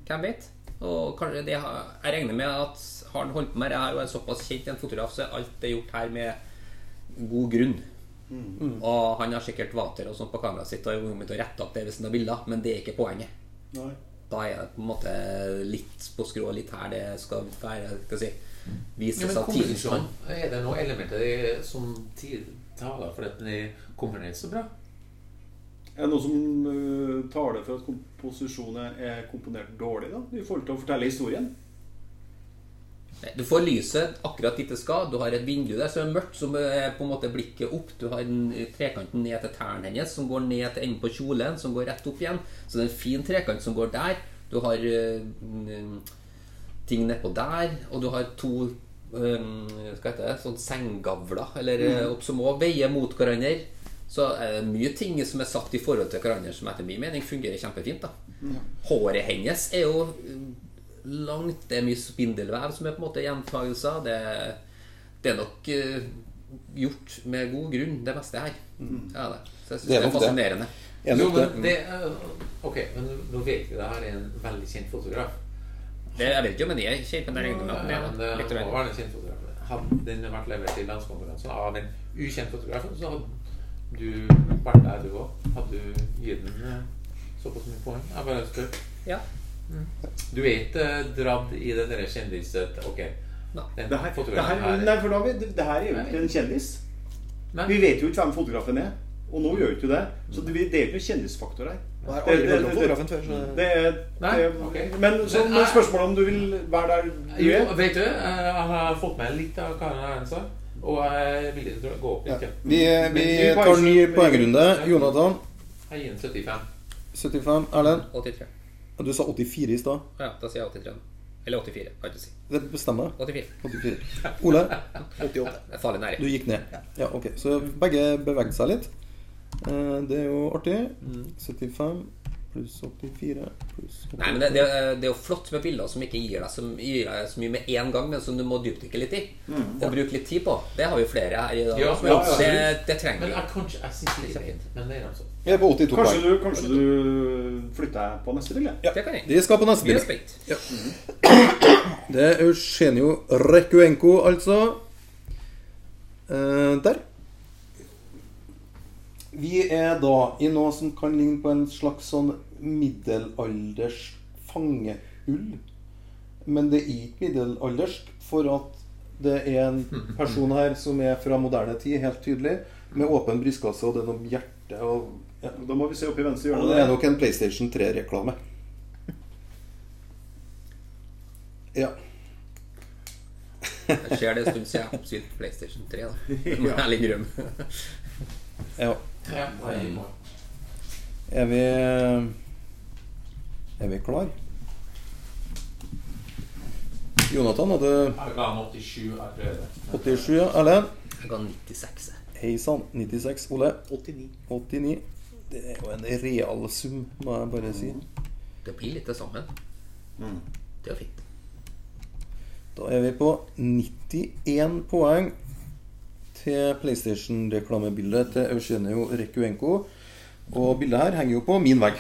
Hvem vet? Og kanskje det har, jeg regner med at har han holdt på med det her og er såpass kjent en fotograf, så er alt det gjort her med god grunn. Mm. Og han har sikkert vater og sånt på kameraet sitt og er kommet til å rette opp det hvis han har bilder, men det er ikke poenget Nei. da er det på en måte litt på skrå, litt her det skal være skal jeg si, Ja, vise men seg tidlig. komposisjon, er det noen elementer i- som tid taler for at den komponeres så bra? Er det noe som øh, taler for at komposisjonen er komponert dårlig, da? I forhold til å fortelle historien? Nei, Du får lyset akkurat dit det skal. Du har et vindu der som er mørkt, som er på en måte blikket opp. Du har en trekanten ned til tærne hennes, som går ned til enden på kjolen, som går rett opp igjen. Så det er en fin trekant som går der. Du har eh, mm, ting nedpå der, og du har to um, hva heter det, sånn senggavler eller, eh, Mm. opp som også veier mot hverandre. Så er det mye ting som er satt i forhold til hverandre, som etter min mening fungerer kjempefint. Mm. da Håret hennes er jo eh, langt, det er mye spindelvev som er på en måte gjentagelser. Det, det er nok eh, gjort med god grunn, det meste her. Mm. Ja, det. Så jeg syns Det det, er er nok det. fascinerende. Er Jo, nok det. men det er, Ok, men nå vet vi det her er en veldig kjent fotograf. Det, jeg vet ikke om den er kjent, men jeg regner med at den Ja, er men det. det Litt må rundt. være en kjent fotograf. Hadde den vært levert til landskonferansen av en ukjent fotograf, så hadde du vært der, du òg. Hadde du gitt den eh, såpass mye poeng? Jeg bare spør. Ja. Du er ikke dratt i den derre kjendisset Ok. Nei. Den Det her, det her, fotografen nei, for da, vi- det her er jo ikke en kjendis. Nei. Vi vet jo ikke hvem fotografen er. Og nå gjør vi ikke det. Så det, det er ikke noen kjendisfaktor her. Og her Det- har aldri det- hørt om det- fotografen før, så Det er, Nei, det, ok. Men så Men men er- spørsmålet om du vil være der du Jo, er vet du, eh, jeg har fått med litt av hva han sa, og jeg er villig til å gå opp litt. Ja. Vi, vi tar en ny poengrunde. Jonathan, Jeg gir den 75. 75. Erlend, 83. du sa 84 i stad. Ja, da sier jeg 83. Eller 84, kan jeg ikke si. Det bestemmer jeg. 84. 84. Ole, 88. Det er farlig du nære. gikk ned. Ja, ok. Så begge bevegde seg litt. Eh, Det er jo artig. Mm. 75 pluss 84 pluss Nei, men det, det, det er jo flott med bilder som ikke gir deg så, gir deg så mye med en gang, men som du må dypdykke litt i. Og bruke litt tid på. Det har vi flere her i dag. Ja, som gjør. absolutt. det, det trenger Men vi. jeg, kanskje, jeg synes det er fint, men det er altså Vi er på 82 Kanskje poeng. du, kanskje du flytter deg på neste bilde? Det kan jeg. De skal på neste Vi er bilde. spent. Det er Eugenio Rekuenko, altså. Eh, der. Vi er da i noe som kan ligne på en slags sånn middelalders fangehull. Men det er ikke middelaldersk, for at det er en person her som er fra moderne tid, helt tydelig, med åpen brystkasse, og det er noe hjerte og, ja. Da må vi se opp i venstre og det er hjørne. nok en PlayStation 3-reklame. Ja. Jeg ser det en stund siden jeg har spilt PlayStation 3, da. Det må jeg litt rømme. Ja. ja, jeg- Er vi eh, Er vi klar? Jonathan hadde Jeg ga den 87. Jeg prøvde. 87, ja. Erlend? Jeg ga 96. jeg. Hei sann. 96. Ole? 89. 89. Det er jo en real sum, må jeg bare si. Det blir litt det sammen. Det er jo fint. Da er vi på 91 poeng til PlayStation-reklamebildet til Eugenio Rekuenko. Og bildet her henger jo på min vegg.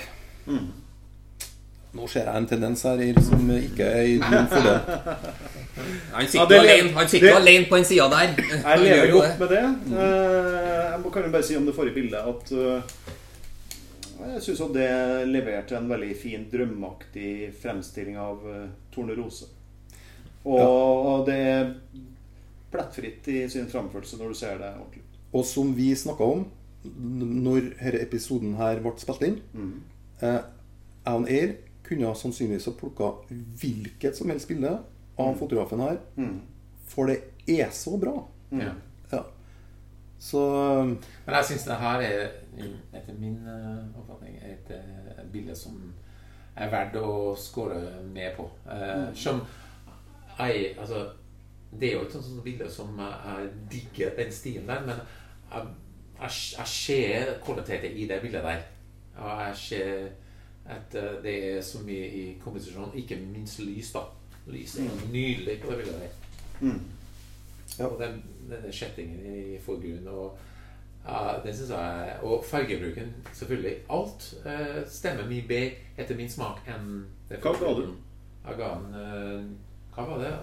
Nå ser jeg en tendens her som ikke er i din fordel. Han Ja, sitter det jo le- alene, han sitter jo det- alene på den sida der. Jeg Han gjør lever jo godt det. med det. Eh, Jeg må kan jo bare si om det forrige bildet at eh, jeg syns at det leverte en veldig fin, drømmeaktig fremstilling av eh, Tornerose. Og, og det er plettfritt i sin framførelse når du ser det ordentlig. Og som vi snakka om n- når denne episoden her ble spilt inn eh, Jeg og Eir kunne ha sannsynligvis ha plukka hvilket som helst bilde av fotografen her. For det er så bra. Ja. Ja. Så eh, Men jeg syns det her er, etter min eh, oppfatning, et eh, bilde som er verdt å score med på. Eh, Som jeg Altså, Det er jo et sånt sånt bilde som jeg, jeg digger den stilen der, men jeg, jeg, jeg ser kvaliteter i det bildet der. Og jeg ser at eh, det er så mye i komposisjonen, ikke minst lys, da. Lys er jo nydelig på det bildet der. Ja. Og den, denne kjettingen i forgrunnen og ja, den synes jeg Og fargebruken, selvfølgelig. Alt eh, stemmer mye bedre etter min smak enn det Hva ga du? Jeg ga den eh, Hva var det?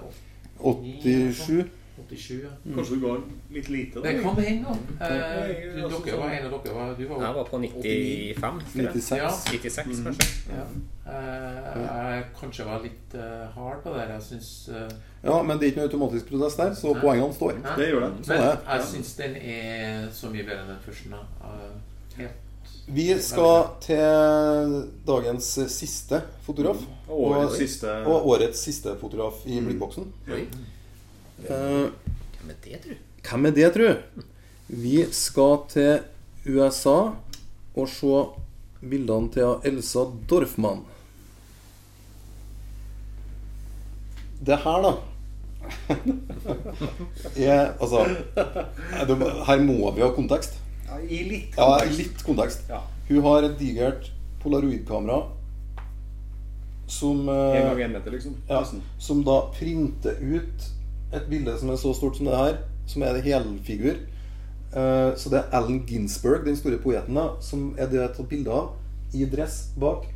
87. sånn. 87, ja. Mm. Kanskje du ga litt lite, Det da? kan hende, da. Eh, Ja, du- altså, dere var sånn- en av dere var, Du var Jeg var på 95. tror jeg. 96. Ja. 96, kanskje. Ja. Eh, jeg kanskje var litt eh, hard på det her. Jeg syns eh, Ja, men det er ikke noe automatisk prosess der, så poengene står. hæ? Det gjør det. sånn Men er det. jeg syns den er så mye bedre enn den første. Da. Eh, helt- Vi skal til dagens siste fotograf. Mm. Og årets siste Og årets siste fotograf i blikkboksen. Oi. Eh, Men det, tror jeg. Hvem er det, tru? Vi skal til USA og se bildene til Elsa Dorfmann. Det her, [LAUGHS] da er, Altså er det- Her må vi ha kontekst. Ja, I litt Ja, kontekst. litt kontekst. Ja. Hun har et digert polaroidkamera som eh, En gang en meter, liksom. ja, Nesten. som da printer ut et bilde som er så stort som det her, som er en helfigur. Eh, Så det er Allen Ginsberg, den store poeten, da, som er det tatt bilde av i dress bak.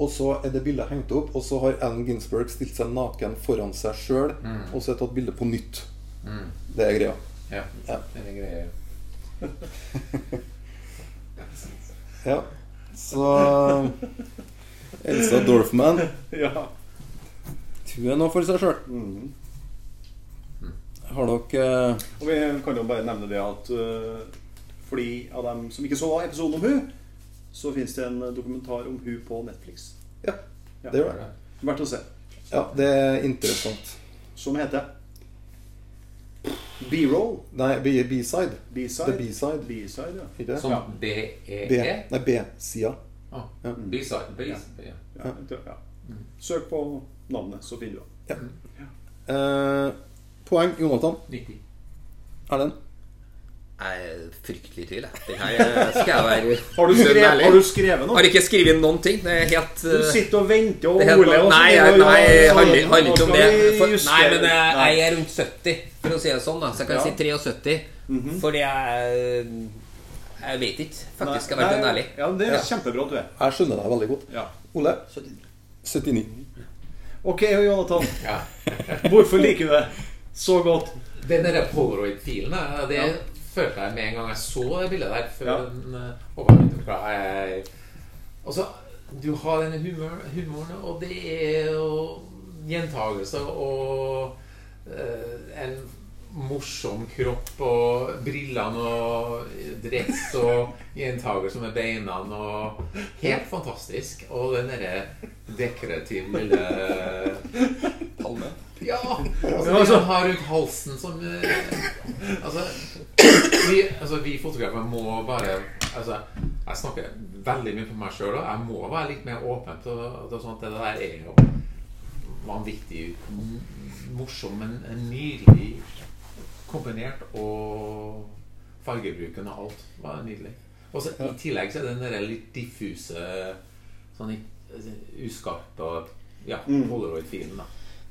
Og så er det bildet hengt opp, og så har Allen Ginsberg stilt seg naken foran seg sjøl, og så er det tatt bilde på nytt. Det er greia. mm, ja. Ja. Den er grei. Ja. Så Elsa Dorfman, Ja. hun er noe for seg sjøl. Har dere eh, Og vi kan jo bare nevne det at øh, for de av dem som ikke så episoden om hun, så fins det en dokumentar om hun på Netflix. Ja, Ja. det gjør det. Verdt å se. Ja, det er interessant. Som heter B-roll. Nei, B- B-side. B-side. The B-side. B-side, ja. Ikke det? Som E? Ja. B. BEE. Nei, B-sida. Ah, Ja. B-side. B-side. Ja. Ja, jeg tror- ja. Mm. Søk på navnet, så finner du det. Eh, poeng, Jonathan. 90. Erlend. Jeg er fryktelig i tvil, jeg. Den her eh, skal jeg [LAUGHS] være Har du dønn skrevet, ærlig. har du skrevet noe? Har ikke skrevet noen ting. Det er helt Du eh, sitter og venter og det er helt, Ole og så- Nei, ja, jeg- ja, nei så- handler, handler ikke om nå det. sånn. skal vi For, nei, justere. men eh, Nei. jeg er rundt 70, for å si det sånn. da Så jeg kan Ja. Mhm. si 73. Fordi jeg eh, Jeg vet ikke. Faktisk skal jeg Nei, være dønn ærlig. Ja, det er kjempebra at du er. Jeg skjønner deg veldig godt. Ja. Ole. 79. Ok, [LAUGHS] Jonathan. Ja. Hvorfor liker du det så godt? Den der polaroid-filen, eh, det følte jeg med en gang jeg så det bildet der. Før Ja. den, eh, over- fra- jeg- Altså, du har denne humor, humoren, og det er jo gjentagelse og eh, en morsom kropp og brillene og dress og gjentagelse med beina og Helt fantastisk. Og den derre dekorative lille Palme. ja! [LAUGHS] Altså, det han har rundt halsen som eh, Altså, vi, altså, vi fotografer må bare Altså, jeg snakker veldig mye for meg sjøl, og jeg må være litt mer åpen på på sånt. sånn Det der er jo vanvittig m- morsom, men nydelig kombinert, og fargebruken og alt var nydelig. Og så i tillegg så er den der litt diffuse, sånn i- uskarpt og Ja, polaroid-filen, da.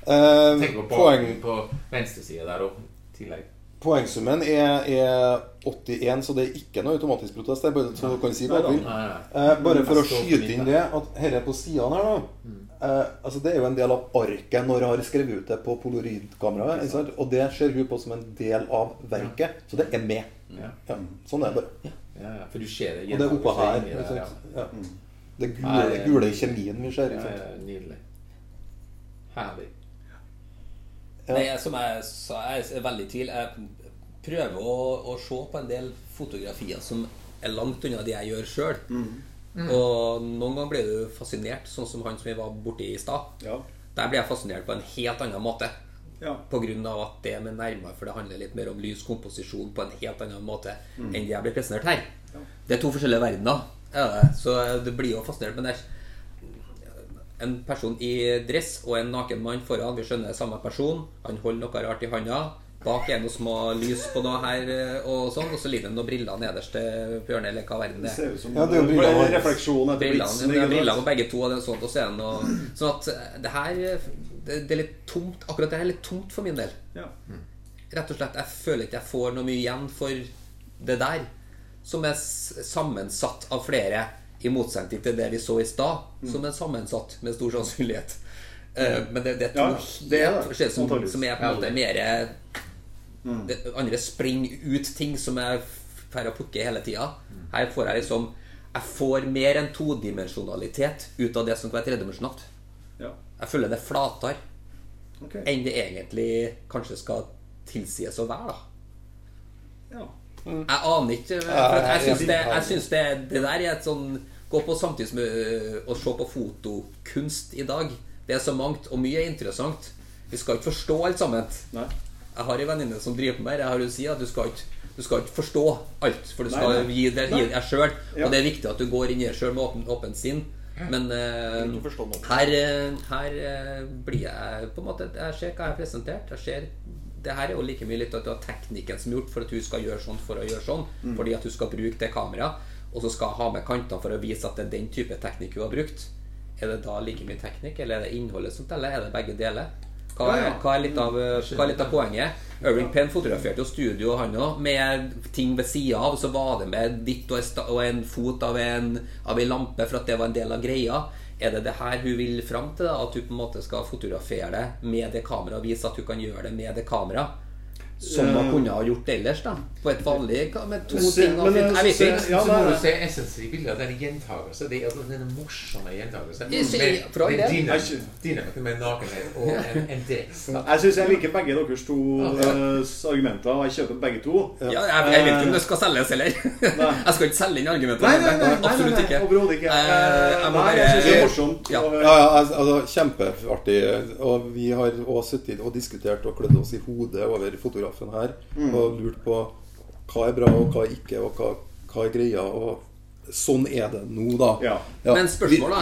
Eh, Tenk på poeng, bakgrunnen på venstre side der òg. Tillegg. poengsummen er, er 81, så det er ikke noe automatisk protest. Det er bare så du kan si hva du vil. Nei, nei, nei. Eh, bare for å Jeg står på skyte mitt, inn da. det, at herre på sidene her, da Mm. eh, altså Det er jo en del av arket når jeg har skrevet ut det på polaroidkameraet. ikke sant? Og det ser hun på som en del av verket. Så det er med. Ja. Ja, sånn er det bare. Ja, ja, for du ser det Og det er oppå her. inni ikke der, ja. Mm. sant? Ja. Det gule, Nei, det- gule kjemien vi ser. Ja, ikke sant? ja, nydelig. Herlig. Ja. Det er som jeg sa, jeg er veldig i tvil. Jeg prøver å, å se på en del fotografier som er langt unna det jeg gjør sjøl. Og noen ganger blir du fascinert, sånn som han som vi var borti i stad. Ja. Der blir jeg fascinert på en helt annen måte. Ja. På grunn av at det er meg nærmere, for det handler litt mer om lyskomposisjon på en helt annen måte enn det jeg blir presentert her. eh, Det er to forskjellige verdener. er det. Så det blir jo fascinert. Men jeg, en person i dress og en naken mann foran. Vi skjønner det er samme person. Han holder noe rart i handa. Bak er noe små lys på noe her, eh, og sånn, og så ligger det noen briller nederst eh, på hjørnet, eller hva verden det er. Ser ut som Ja, det er jo brillene Bare hans. refleksjon etter Brillene, blitsen. det er ikke briller sant? på begge to, og det er sånt, og så er det noe Sånn at eh, det her eh, det, det er litt tomt. Akkurat det her er litt tomt for min del. Ja. Mm. Rett og slett, jeg føler ikke jeg får noe mye igjen for det der. Som er s- sammensatt av flere, i motsetning til det vi så i stad. Mm. Som er sammensatt med stor sannsynlighet. Eh, men det, det er to Ja, det er det. helt forskjellige som, Antageligvis. som er på en måte mer Mm. det, Andre springer ut ting som jeg får å plukke hele tida. Mm. Her får jeg liksom Jeg får mer enn todimensjonalitet ut av det som kan være tredimensjonalt. ja. Jeg føler det er flatere Ok. enn det egentlig kanskje skal tilsies å være. da Ja. Jeg aner ikke. For at jeg syns det, jeg synes det, det der er et sånn Gå på samtidig med øh, å se på fotokunst i dag. Det er så mangt, og mye er interessant. Vi skal ikke forstå alt sammen. Nei. Jeg har en venninne som driver med det. Jeg har hun sier at du skal ikke du skal ikke forstå alt, for du skal Nei, nei. gi deg gi deg sjøl. Ja. Og det er viktig at du går inn i det sjøl med åpen- åpent sinn. Men eh, Ikke forstå noe. her, eh, her eh, blir jeg på en måte Jeg ser hva jeg har presentert. Jeg ser, det her er jo like mye litt at det var teknikken som er gjort for at hun skal gjøre sånn for å gjøre sånn. Mm. Fordi at hun skal bruke det kameraet, og så skal hun ha med kantene for å vise at det er den type teknikk hun har brukt. Er det da like mye teknikk, eller er det innholdet som teller? Er det begge deler? Hva er, hva er, litt, av, eh, hva er litt av poenget? Irving Penn fotograferte jo studio, han òg, med ting ved sida av. Så var det med ditt og en sta- og en fot av en, av en lampe, for at det var en del av greia. Er det det her hun vil fram til? da? At hun på en måte skal fotografere det med det kameraet? Vise at hun kan gjøre det med det kameraet? Som hun Eh. kunne ha gjort ellers, da. På et vanlig ka- Med to Se- ting og men, fint. eh, Jeg vet se- ikke. Ja, så nei, må nei. du se essensen i bildet. Det er gjentagelse. Det er altså denne morsomme gjentagelsen. Jeg sier Med- fra med det. dynam- Jeg sier- Dynamikken med nakenhet og en, en dress. Jeg syns jeg liker begge deres to Ja. eh, s- argumenter, og jeg kjøper begge to. Ja, jeg, jeg vet ikke om det skal selges heller. [LAUGHS] jeg skal ikke selge inn argumentet. Eh. Nei, nei, nei, nei, nei, Absolutt nei, ikke. overhodet ikke. Eh, jeg må Nei, bare jeg syns det er morsomt. eh, Ja. å høre. Ja, ja, altså, altså, Kjempeartig. Og vi har også sittet og diskutert og klødd oss i hodet over fotografen her. Mm. Og lurt på hva er bra, og hva er ikke, og hva, hva er greia. Og sånn er det nå, da. Ja. Ja, Men spørsmålet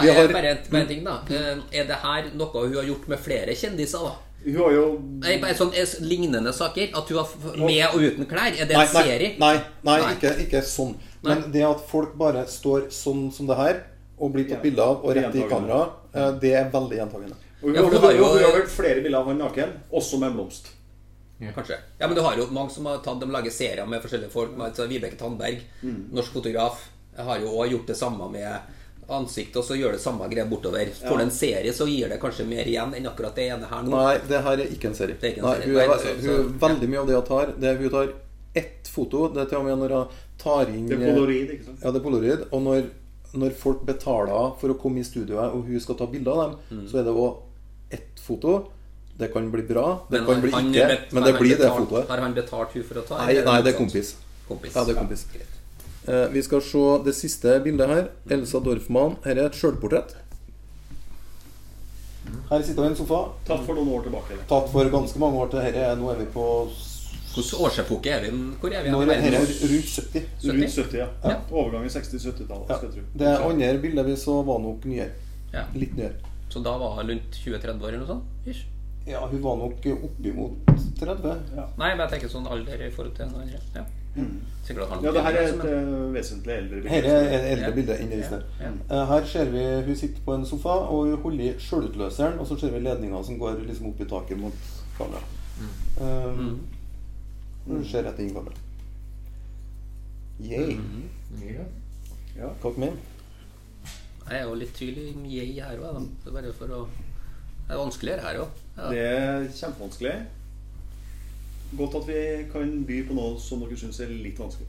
vi, vi er har, Mm. bare, et- bare en ting, da. Eh, Er det her noe hun har gjort med flere kjendiser, da? Hun har jo Nei, bare sånn eh, lignende saker? At hun har f- med og uten klær? Er det en Nei, nei, serie? Nei, nei, Nei. Ikke, ikke sånn. Nei. Men det at folk bare står sånn som det her, og blir tatt Ja. bilde av og rett i Gjentagende. kamera, eh, det er veldig gjentagende. og hun, Ja, for hun, det var jo- hun har vært flere bilder av han naken, også med en blomst. Kanskje. Ja, men du har jo mange som har tatt, de lager serier med forskjellige folk. med- Altså, Vibeke Tandberg, Mm. norsk fotograf, har jo også gjort det samme med ansikt, og så gjør det samme greia bortover. Får du en serie, så gir det kanskje mer igjen enn akkurat det ene her nå. Nei, det her er ikke en serie. Det er ikke en Nei, serie. hun, er, Nei, så- hun er veldig mye av det hun tar. Det, hun tar ett foto. Det er til og med når hun tar inn Det er polaroid, ikke sant? Ja, det er polaroid. Og når, når folk betaler for å komme i studioet, og hun skal ta bilder av dem, Mm. så er det òg ett foto. Det kan bli bra, det kan bli han ikke, bet- men det har han blir det betalt- fotoet. Har han betalt hun for å ta? Nei, eller nei, det er motsatt? kompis. kompis. Ja, det er kompis. greit. Eh, Vi skal se det siste bildet her. Elsa Dorfmann. Her er et sjølportrett. Her sitter hun i en sofa. Tatt for noen år tilbake. eller? Tatt for ganske mange år til dette. Nå er vi på Hvordan årsepoke er vi? Hvor er vi? Nå i er verden? dette rundt 70. Rundt 70, ja. Ja. Overgangen 60-70-tallet, Ja. skal jeg tro. Det andre bildet vi så, var nok nyere. Ja. Litt nyere. Så da var han rundt 20-30 år eller noe sånt? Ish. Ja, hun var nok oppimot 30. Nei, men jeg tenker sånn alder i forhold til noen andre. Ja. Sikkert at han Mm. Ja, det her er et men- eh, vesentlig eldre Dette bilde. er et eldre Ja. bilde enn det siste. Ja, Eh, Her ser vi hun sitter på en sofa, og hun holder i sjølutløseren, og så ser vi ledninga som går liksom opp i taket mot kameraet. Um, Hun ser rett inn i kameraet. Yay. Ja. Cock me. eh, Jeg er jo litt tydelig jeg her òg, da. Bare for å Det er vanskeligere her òg. Ja. Det er kjempevanskelig. Godt at vi kan by på noe som dere syns er litt vanskelig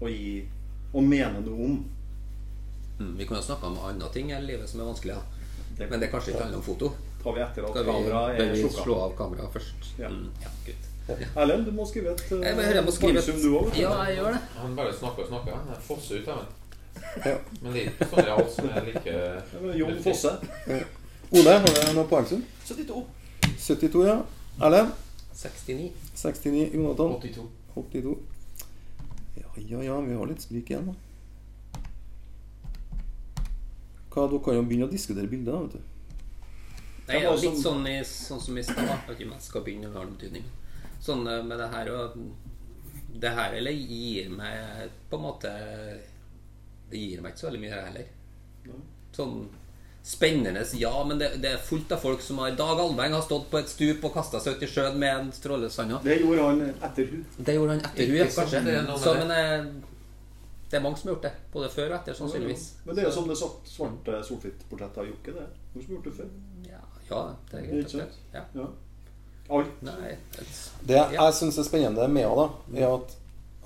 å gi og mene noe om. Mm, Vi kan jo snakke om andre ting i livet som er vanskelig, da. Det Men det kanskje ikke handler om foto. tar vi etter at Skal vi, kameraet bør er vi slå slukka. av kameraet først? Ja. Mm, ja, gutt. Erlend, du må skrive et eh, Jeg, jeg må skrive poengsum, du òg. Ja, jeg gjør det. Han bare snakker og snakker. Han fosser ut av ham. Men det er ikke sånn det er alt som er like Jon Fosse. Ole, har du noe poengsum? 72. 72, ja. Erlend? 69. 69. Jonathan? 82. 82. Ja, ja, ja, vi har litt sprik igjen, da. Hva, Dere kan jo begynne å diskutere bilder, da, vet du. Nei, Jeg det var er litt som- sånn, i, sånn som i stad, at vi mest skal begynne å ha noen betydning. Sånn eh, med det her og Det her eller gir meg på en måte Det gir meg ikke så veldig mye her heller. Sånn spennende Ja, men det, det er fullt av folk som har Dag Alveng har stått på et stup og kasta seg ut i sjøen med en strålesanda. Det gjorde han etter hun. Det gjorde han etter Ikke henne, sant, kanskje. det er noe med Så, men eh, det er mange som har gjort det. Både før og etter, sannsynligvis. Men det er jo som det svart- svarte sort-hvitt-portrettet av Jokke. det. Noen som har gjort det før. Ja, ja det er Ikke greit. sant? Ja. Ja. Alt. Nei, et- Det jeg syns er spennende med henne, da, er at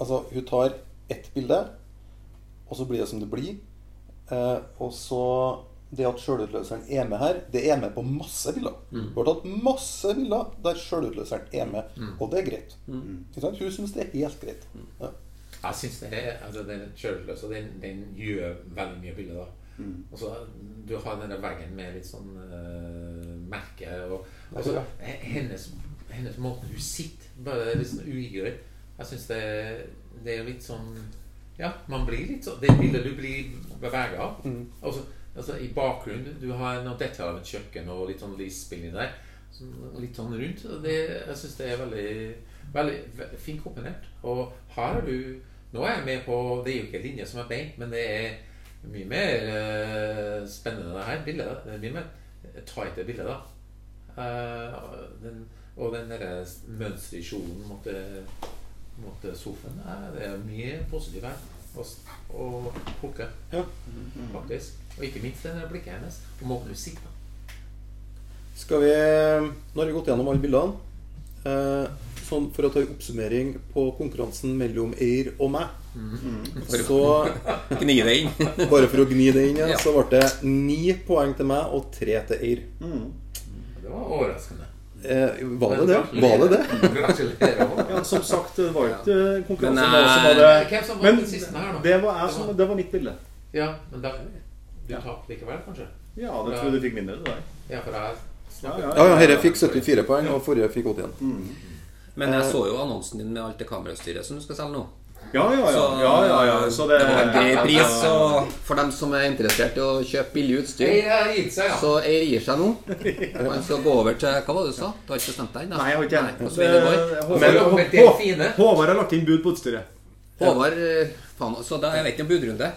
altså, hun tar ett bilde, og så blir det som det blir. Eh, og så det at sjølutløseren er med her, det er med på masse bilder. Hun har tatt masse bilder der sjølutløseren er med, og det er greit. Ikke sant? Hun syns det er helt greit. Ja. Jeg syns det er altså den sjølløse, den, den gjør veldig mye bilder. da. Og så Du har denne veggen med litt sånn eh, merke og altså, he- hennes, hennes måte hun sitter bare litt sånn uigur. Jeg syns det, det er litt sånn Ja, man blir litt sånn Det bildet du blir beveget av. Og så- altså, I bakgrunnen du har noen detaljer av et kjøkken og litt sånn lysspill inni der. Sånn, Litt sånn rundt. og Det, jeg syns det er veldig, veldig ve- fint komponert. Og her har du Nå er jeg med på Det er jo ikke linje som er beint, men det er mye mer eh, spennende det her bildet. Det er mye mer tighte bilder, da. Eh, og den, og den derre mønsteret i kjolen mot, det- mot det sofaen eh, Det er mye positivt her å s- å plukke, faktisk. Og ikke minst det der blikket hennes. Og måten hun sitter på. Skal vi eh, Nå har vi gått gjennom alle bildene. Eh, sånn for å ta en oppsummering på konkurransen mellom Eir og meg. Så Gni det inn. bare for å gni det inn, igjen, Ja. så ble det ni poeng til meg og tre til Eir. Mm. Det var overraskende. Eh, var det det? Var det det? Gratulerer. Ja, som sagt, det var jo ikke konkurranse. Men, det var som eh, hadde- Hvem som Men vant den siste her, da? det var, jeg som, det var mitt bilde. Ja, men da Du tapte likevel, kanskje? Ja, det tror jeg du fikk mindre enn det der. Ja, for jeg Ja, snakker Ja, ja, herre fikk 74 poeng, og forrige fikk 81. Men Eh. jeg så jo annonsen din med alt det kamerautstyret som du skal selge nå. Ja, ja, ja. ja, ja, ja. Så det, var en grei pris. Og for dem som er interessert i å kjøpe billig Nei, utstyr, det har gitt seg, ja. så Eir gir [LAUGHS] seg nå. Og han skal gå over til Hva var det du sa? Du har ikke bestemt deg ennå? Nei, jeg har ikke Nei, hvordan vil det går? Men- Håvard- Men det er Hå- fine. Håvard har lagt inn bud på utstyret. Håvard eh, faen, Så da jeg vet ikke om budrunde.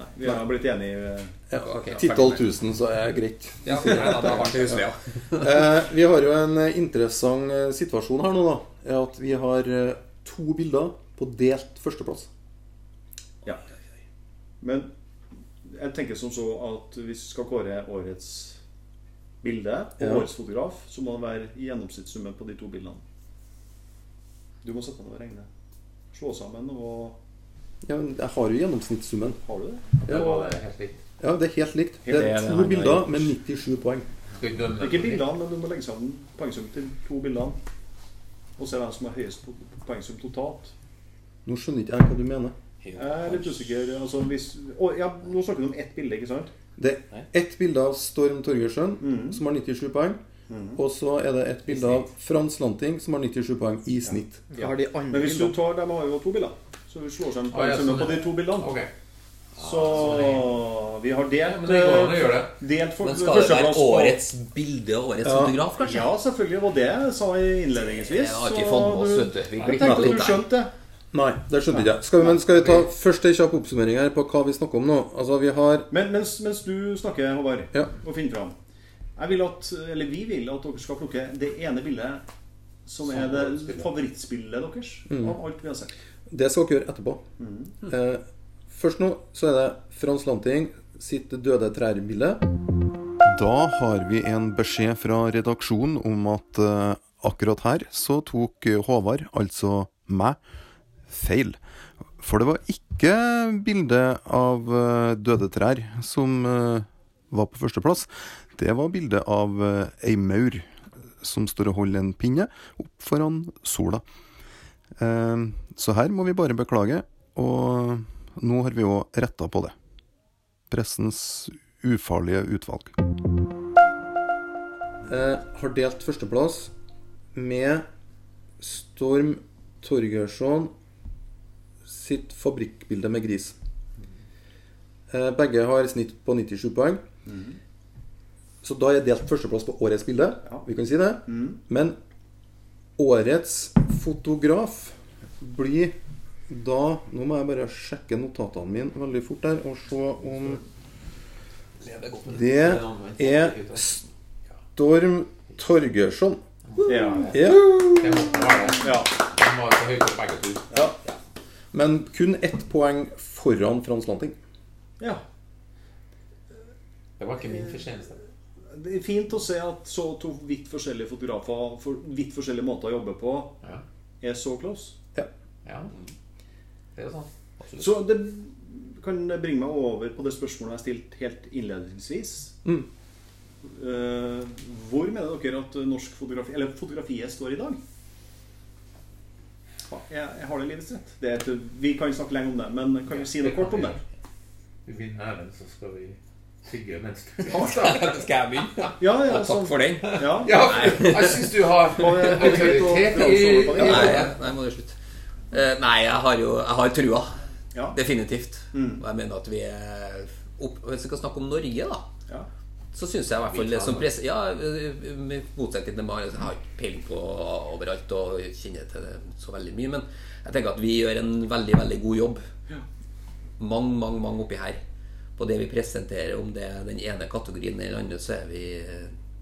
Nei, vi har blitt enige. eh, Ja, Ok, ja, 10 000, så er det greit. Ja, nei, da, da var det [LAUGHS] husleia. Eh, vi har jo en eh, interessant eh, situasjon her nå, da. Er at vi har eh, to bilder på delt førsteplass. Ja. Men jeg tenker som så at hvis vi skal kåre årets bilde og Ja. årets fotograf, så må det være gjennomsnittssummen på de to bildene. Du må sette deg ned og regne. Slå sammen og Ja, men jeg har jo gjennomsnittssummen. Har du det? Det var det helt likt. Ja, Det er helt likt. Det Helt er enig, han to har bilder gjort. med 97 poeng. Skal vi dømme Ikke det? bildene, men du må legge sammen poengsum til to bildene. Og se hvem som har høyest po- poengsum totalt. Nå skjønner ikke jeg hva du mener. Jeg er litt usikker. Altså, hvis, å, ja, nå snakker du om ett bilde, ikke sant? Det er ett bilde av Storm Torgersen, som har 97 poeng. Og så er det et bilde av Frans Lanting, som har 97 poeng i snitt. Jeg har de andre Men hvis du bildene. tar, De har jo to bilder. Så vi slår Å, sammen ja, poengsummen sånn, på de ja. to bildene. Ok. Så vi har Ja, delt eh, Men det går an å gjøre det. Delt for, Men skal det være førsteplass på- årets bilde og årets fotograf, kanskje? Ja, selvfølgelig. Og det jeg sa jeg innledningsvis. Jeg har ikke så fått med oss, du- vet du. Vi Jeg glemte tenkte litt du der. skjønte det. Nei, det skjønte ikke jeg. Skal vi, men skal vi ta først en kjapp oppsummering her på hva vi snakker om nå? Altså, vi har Men mens, mens du snakker, Håvard, Ja. og finner fram jeg vil at, eller Vi vil at dere skal plukke det ene bildet som er det favorittspillet deres. Av alt vi har sett. Det skal dere gjøre etterpå. Eh, først nå så er det Frans Lanting sitt døde trær-bilde. Da har vi en beskjed fra redaksjonen om at eh, akkurat her så tok eh, Håvard, altså meg, feil. For det var ikke bildet av eh, døde trær som eh, var på førsteplass. Det var bildet av eh, ei maur som står og holder en pinne opp foran sola. Eh, Så her må vi bare beklage, og nå har vi jo retta på det. Pressens ufarlige utvalg. Eh, har delt førsteplass med Storm Torgersson sitt fabrikkbilde med gris. Eh, Begge har snitt på 97 poeng. Så da er delt førsteplass på årets bilde. Vi kan si det. Men årets fotograf blir da Nå må jeg bare sjekke notatene mine veldig fort der og se om Det er Storm Torgersson. Ja. Ja. Det måtte være det. ja. De var så høyt opp begge to. Men kun ett poeng foran Frans Lanting. ja. Det var ikke min fortjeneste. Det er fint å se at så to vidt forskjellige fotografer for vidt forskjellige måter å jobbe på Ja. er så close. ja. Det er jo sant. Så det kan bringe meg over på det spørsmålet jeg stilte helt innledningsvis. Eh, hvor mener dere at norsk fotografi Eller fotografiet står i dag? Ja, Jeg, jeg har det i livets rett. Det er et, vi kan snakke lenge om det, men kan du si noe kort om det? Du vinner Erlend, så skal vi tygge mens du [LAUGHS] Skal jeg begynne? Ja, ja, Takk sånn. for den. Ja. Ja, jeg syns du har autoritet i Nei, jeg, nei, må det slutte. Eh, Nei, jeg har jo jeg har trua. Ja. Definitivt. Mm. Og jeg mener at vi er opp, Hvis vi skal snakke om Norge, da. Ja. så syns jeg i hvert fall det som presse Ja, med motsetning til meg, jeg har ikke peiling på overalt og kjenner til det så veldig mye, men jeg tenker at vi gjør en veldig, veldig god jobb. Mange, mange, mange oppi her. På det vi presenterer, om det er den ene kategorien eller den andre, så er vi,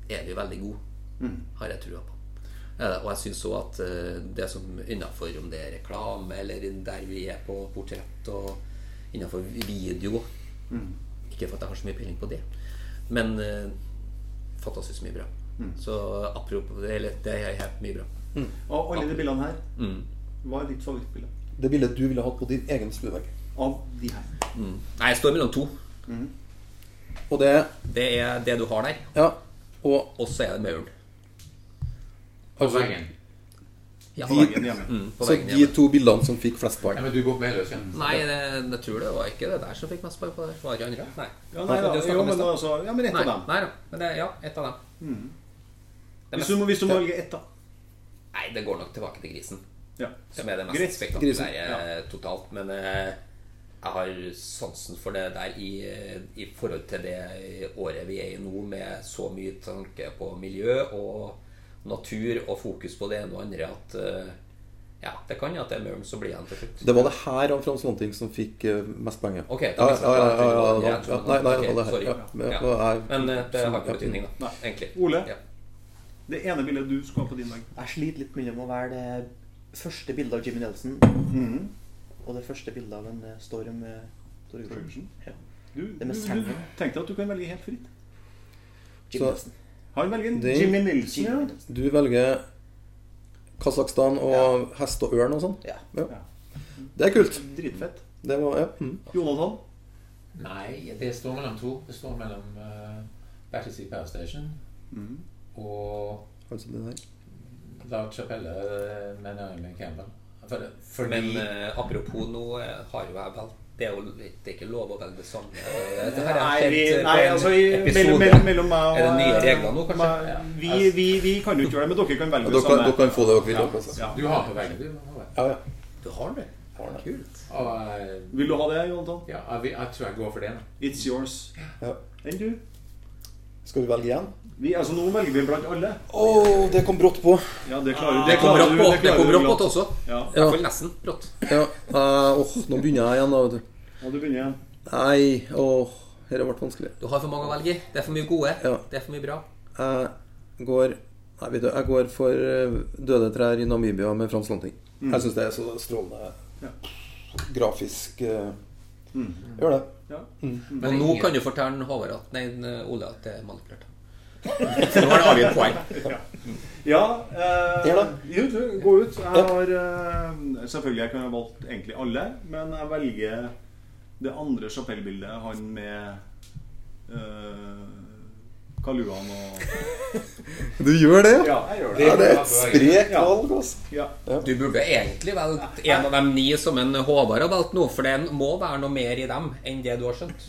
er vi veldig gode. Har jeg trua på. Ja, og jeg syns òg at eh, det som innafor, om det er reklame eller der vi er på portrett og innafor video ikke for at jeg har så mye peiling på det, men eh, fantastisk mye bra. Så apropos det, eller det er helt mye bra. Og alle de bildene her. Mm. Hva er ditt favorittbilde? Det bildet du ville hatt på din egen stuevegg. Av de her. Nei, jeg står mellom to. Og det Det er det du har der, Ja. Og og så er det mauren. På veggen. Ja, Veggen hjemme. mm, på så veggen de hjemme. to bildene som fikk flest Ja, poeng. men du går med løs, dus, ja. Nei, det, jeg tror det var ikke det der som fikk mest poeng på det. Var det andre? Nei. Ja, nei, da, Du snakket jo, om i men stad. altså, ja, men ett Nei, av dem. nei da. Men det, ja, ett av dem. Hvis du, må- hvis du må velge ett, da. Nei, det går nok tilbake til grisen. Ja. Som er det mest Greit. spektakulære totalt. Men eh, jeg har sansen for det der i, eh, i forhold til det året vi er i nå, med så mye tanke på miljø og natur og fokus på det ene og andre, at eh, ja, det kan jo at det er mørkt, så blir han til slutt. Det var det her av Frans Lanting som fikk eh, mest poeng. ja. Ok, ja, ja, ja, ja, ja, ja, ja. Nei, nei, Ok, det var det her. sorry. Ja, men, Ja. det er- Men eh, det har ikke betydning, da. Egentlig. Ole? Ja. Det ene bildet du skulle ha på din vegg. Jeg sliter litt mellom å være det første bildet av Jimmy Nelson Mm. og det første bildet av en eh, Storm eh, Torgersen. Torgersen? Ja. Du, er med du- sangen. du tenkte at du kan velge helt fritt. Jimmy Så- Nelson. Han velger en Det- Jimmy Nilsen. Jimmy Ja. Nelson. Du velger Kasakhstan og hest og ørn og sånn? Ja. Det er kult. Dritfett. Det var, ja. mm. Jonathan. Nei, det står mellom to. Det står mellom uh, Battersea Power Station og Altså det der. La Chapelle eh, med Naomi Campbell. For, fordi Men eh, apropos nå eh, har jo jeg vel det er, jo, det er ikke lov å velge det samme. Eh, Det har Nei, jeg vi, sett nei eh, altså på en i- mellom, episode. mellom, mellom meg og Er det nye regler nå, kanskje? meg- Ja. Vi, vi, vi kan jo ikke gjøre det, men dere kan velge Dere, det kan, dere samme. kan få det dere vil. dere, altså. Ja. du har på veggen, du. har det. Ja, ja. Du har det? Kult. Og eh, Vil du ha det, Jonathan? ja, jeg, vil- jeg tror jeg går for den. It's yours. Ja. Enn du? Skal du velge igjen? Vi, altså, nå velger vi blant alle. Å, det kom brått på. Ja, det Ah. klarer du. Det kom brått du- på, det klarer kom du brått på glatt. oss også. Ja. I hvert fall nesten brått. Ja. eh, Åh, nå begynner jeg igjen, da. vet du. ja, du begynner igjen. Nei, åh, dette ble vanskelig. Du har for mange å velge i. Det er for mye gode. Ja. Det er for mye bra. Jeg går Nei, vet du, jeg går for eh, Døde trær i Namibia med Frans Lanting. Jeg syns det er så strålende Ja. grafisk eh, Gjør det. Og nå kan du fortelle Håvard at Nei, Ole at det er [LAUGHS] manipulert. Så nå har det avgitt poeng. Ja eh, Gjør Jo, du, gå ut. Jeg har eh, Selvfølgelig jeg kan ha valgt egentlig alle, men jeg velger det andre Chapelle-bildet, han med eh, kaluaen og Du gjør det? Ja, jeg gjør Ja, det. det er et sprekt Ja. valg, altså. Ja. Du burde egentlig valgt en av de ni som en Håvard har valgt nå, for det må være noe mer i dem enn det du har skjønt.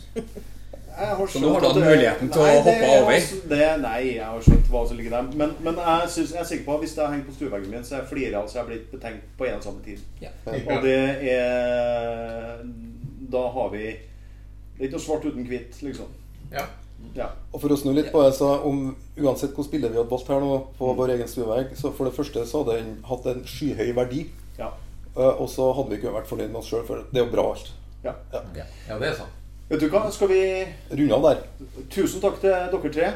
Jeg har nå har du skjønt hatt at det- muligheten til å Nei, det hoppe er over. også- Det, nei, jeg har skjønt hva som ligger der. Men, men jeg, synes, jeg er sikker på at hvis det henger på stueveggen min, så jeg flirer jeg, så jeg blir betenkt på en og samme tid. Ja. Og det er Da har vi Det er ikke noe svart uten hvitt, liksom. Ja. Ja. Og for å snu litt på det, så om uansett hvilket bilde vi hadde valgt her nå, Mm. på vår egen stuevegg, så for det første så hadde den hatt en skyhøy verdi. Ja. Eh, Og så hadde vi ikke vært fornøyd med oss sjøl, for det er jo bra alt. Ja. Ja, det er sant. Vet du hva, skal vi Runde av der. Tusen takk til dere tre.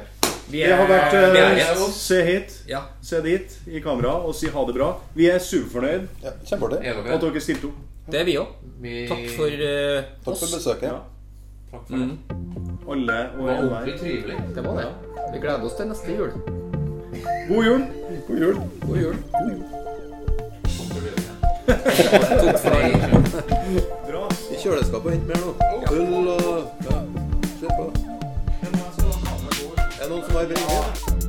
Vi Det har vært vi er eh, helt- Se hit, Ja. se dit i kamera og si ha det bra. Vi er superfornøyd Ja, Kjempeartig. Er dere at dere stilte opp. Det er vi òg. Vi- Takk for Mm. eh, Takk oss. for besøket. Ja. Takk for det. Alle og Det var enhver. ordentlig trivelig. Det var det. Vi gleder oss til neste jul. God jul! God jul. God jul. Bra. I kjøleskapet og hent mer nå. Øl og ja. Slipp på. Er det noen som har brennevin?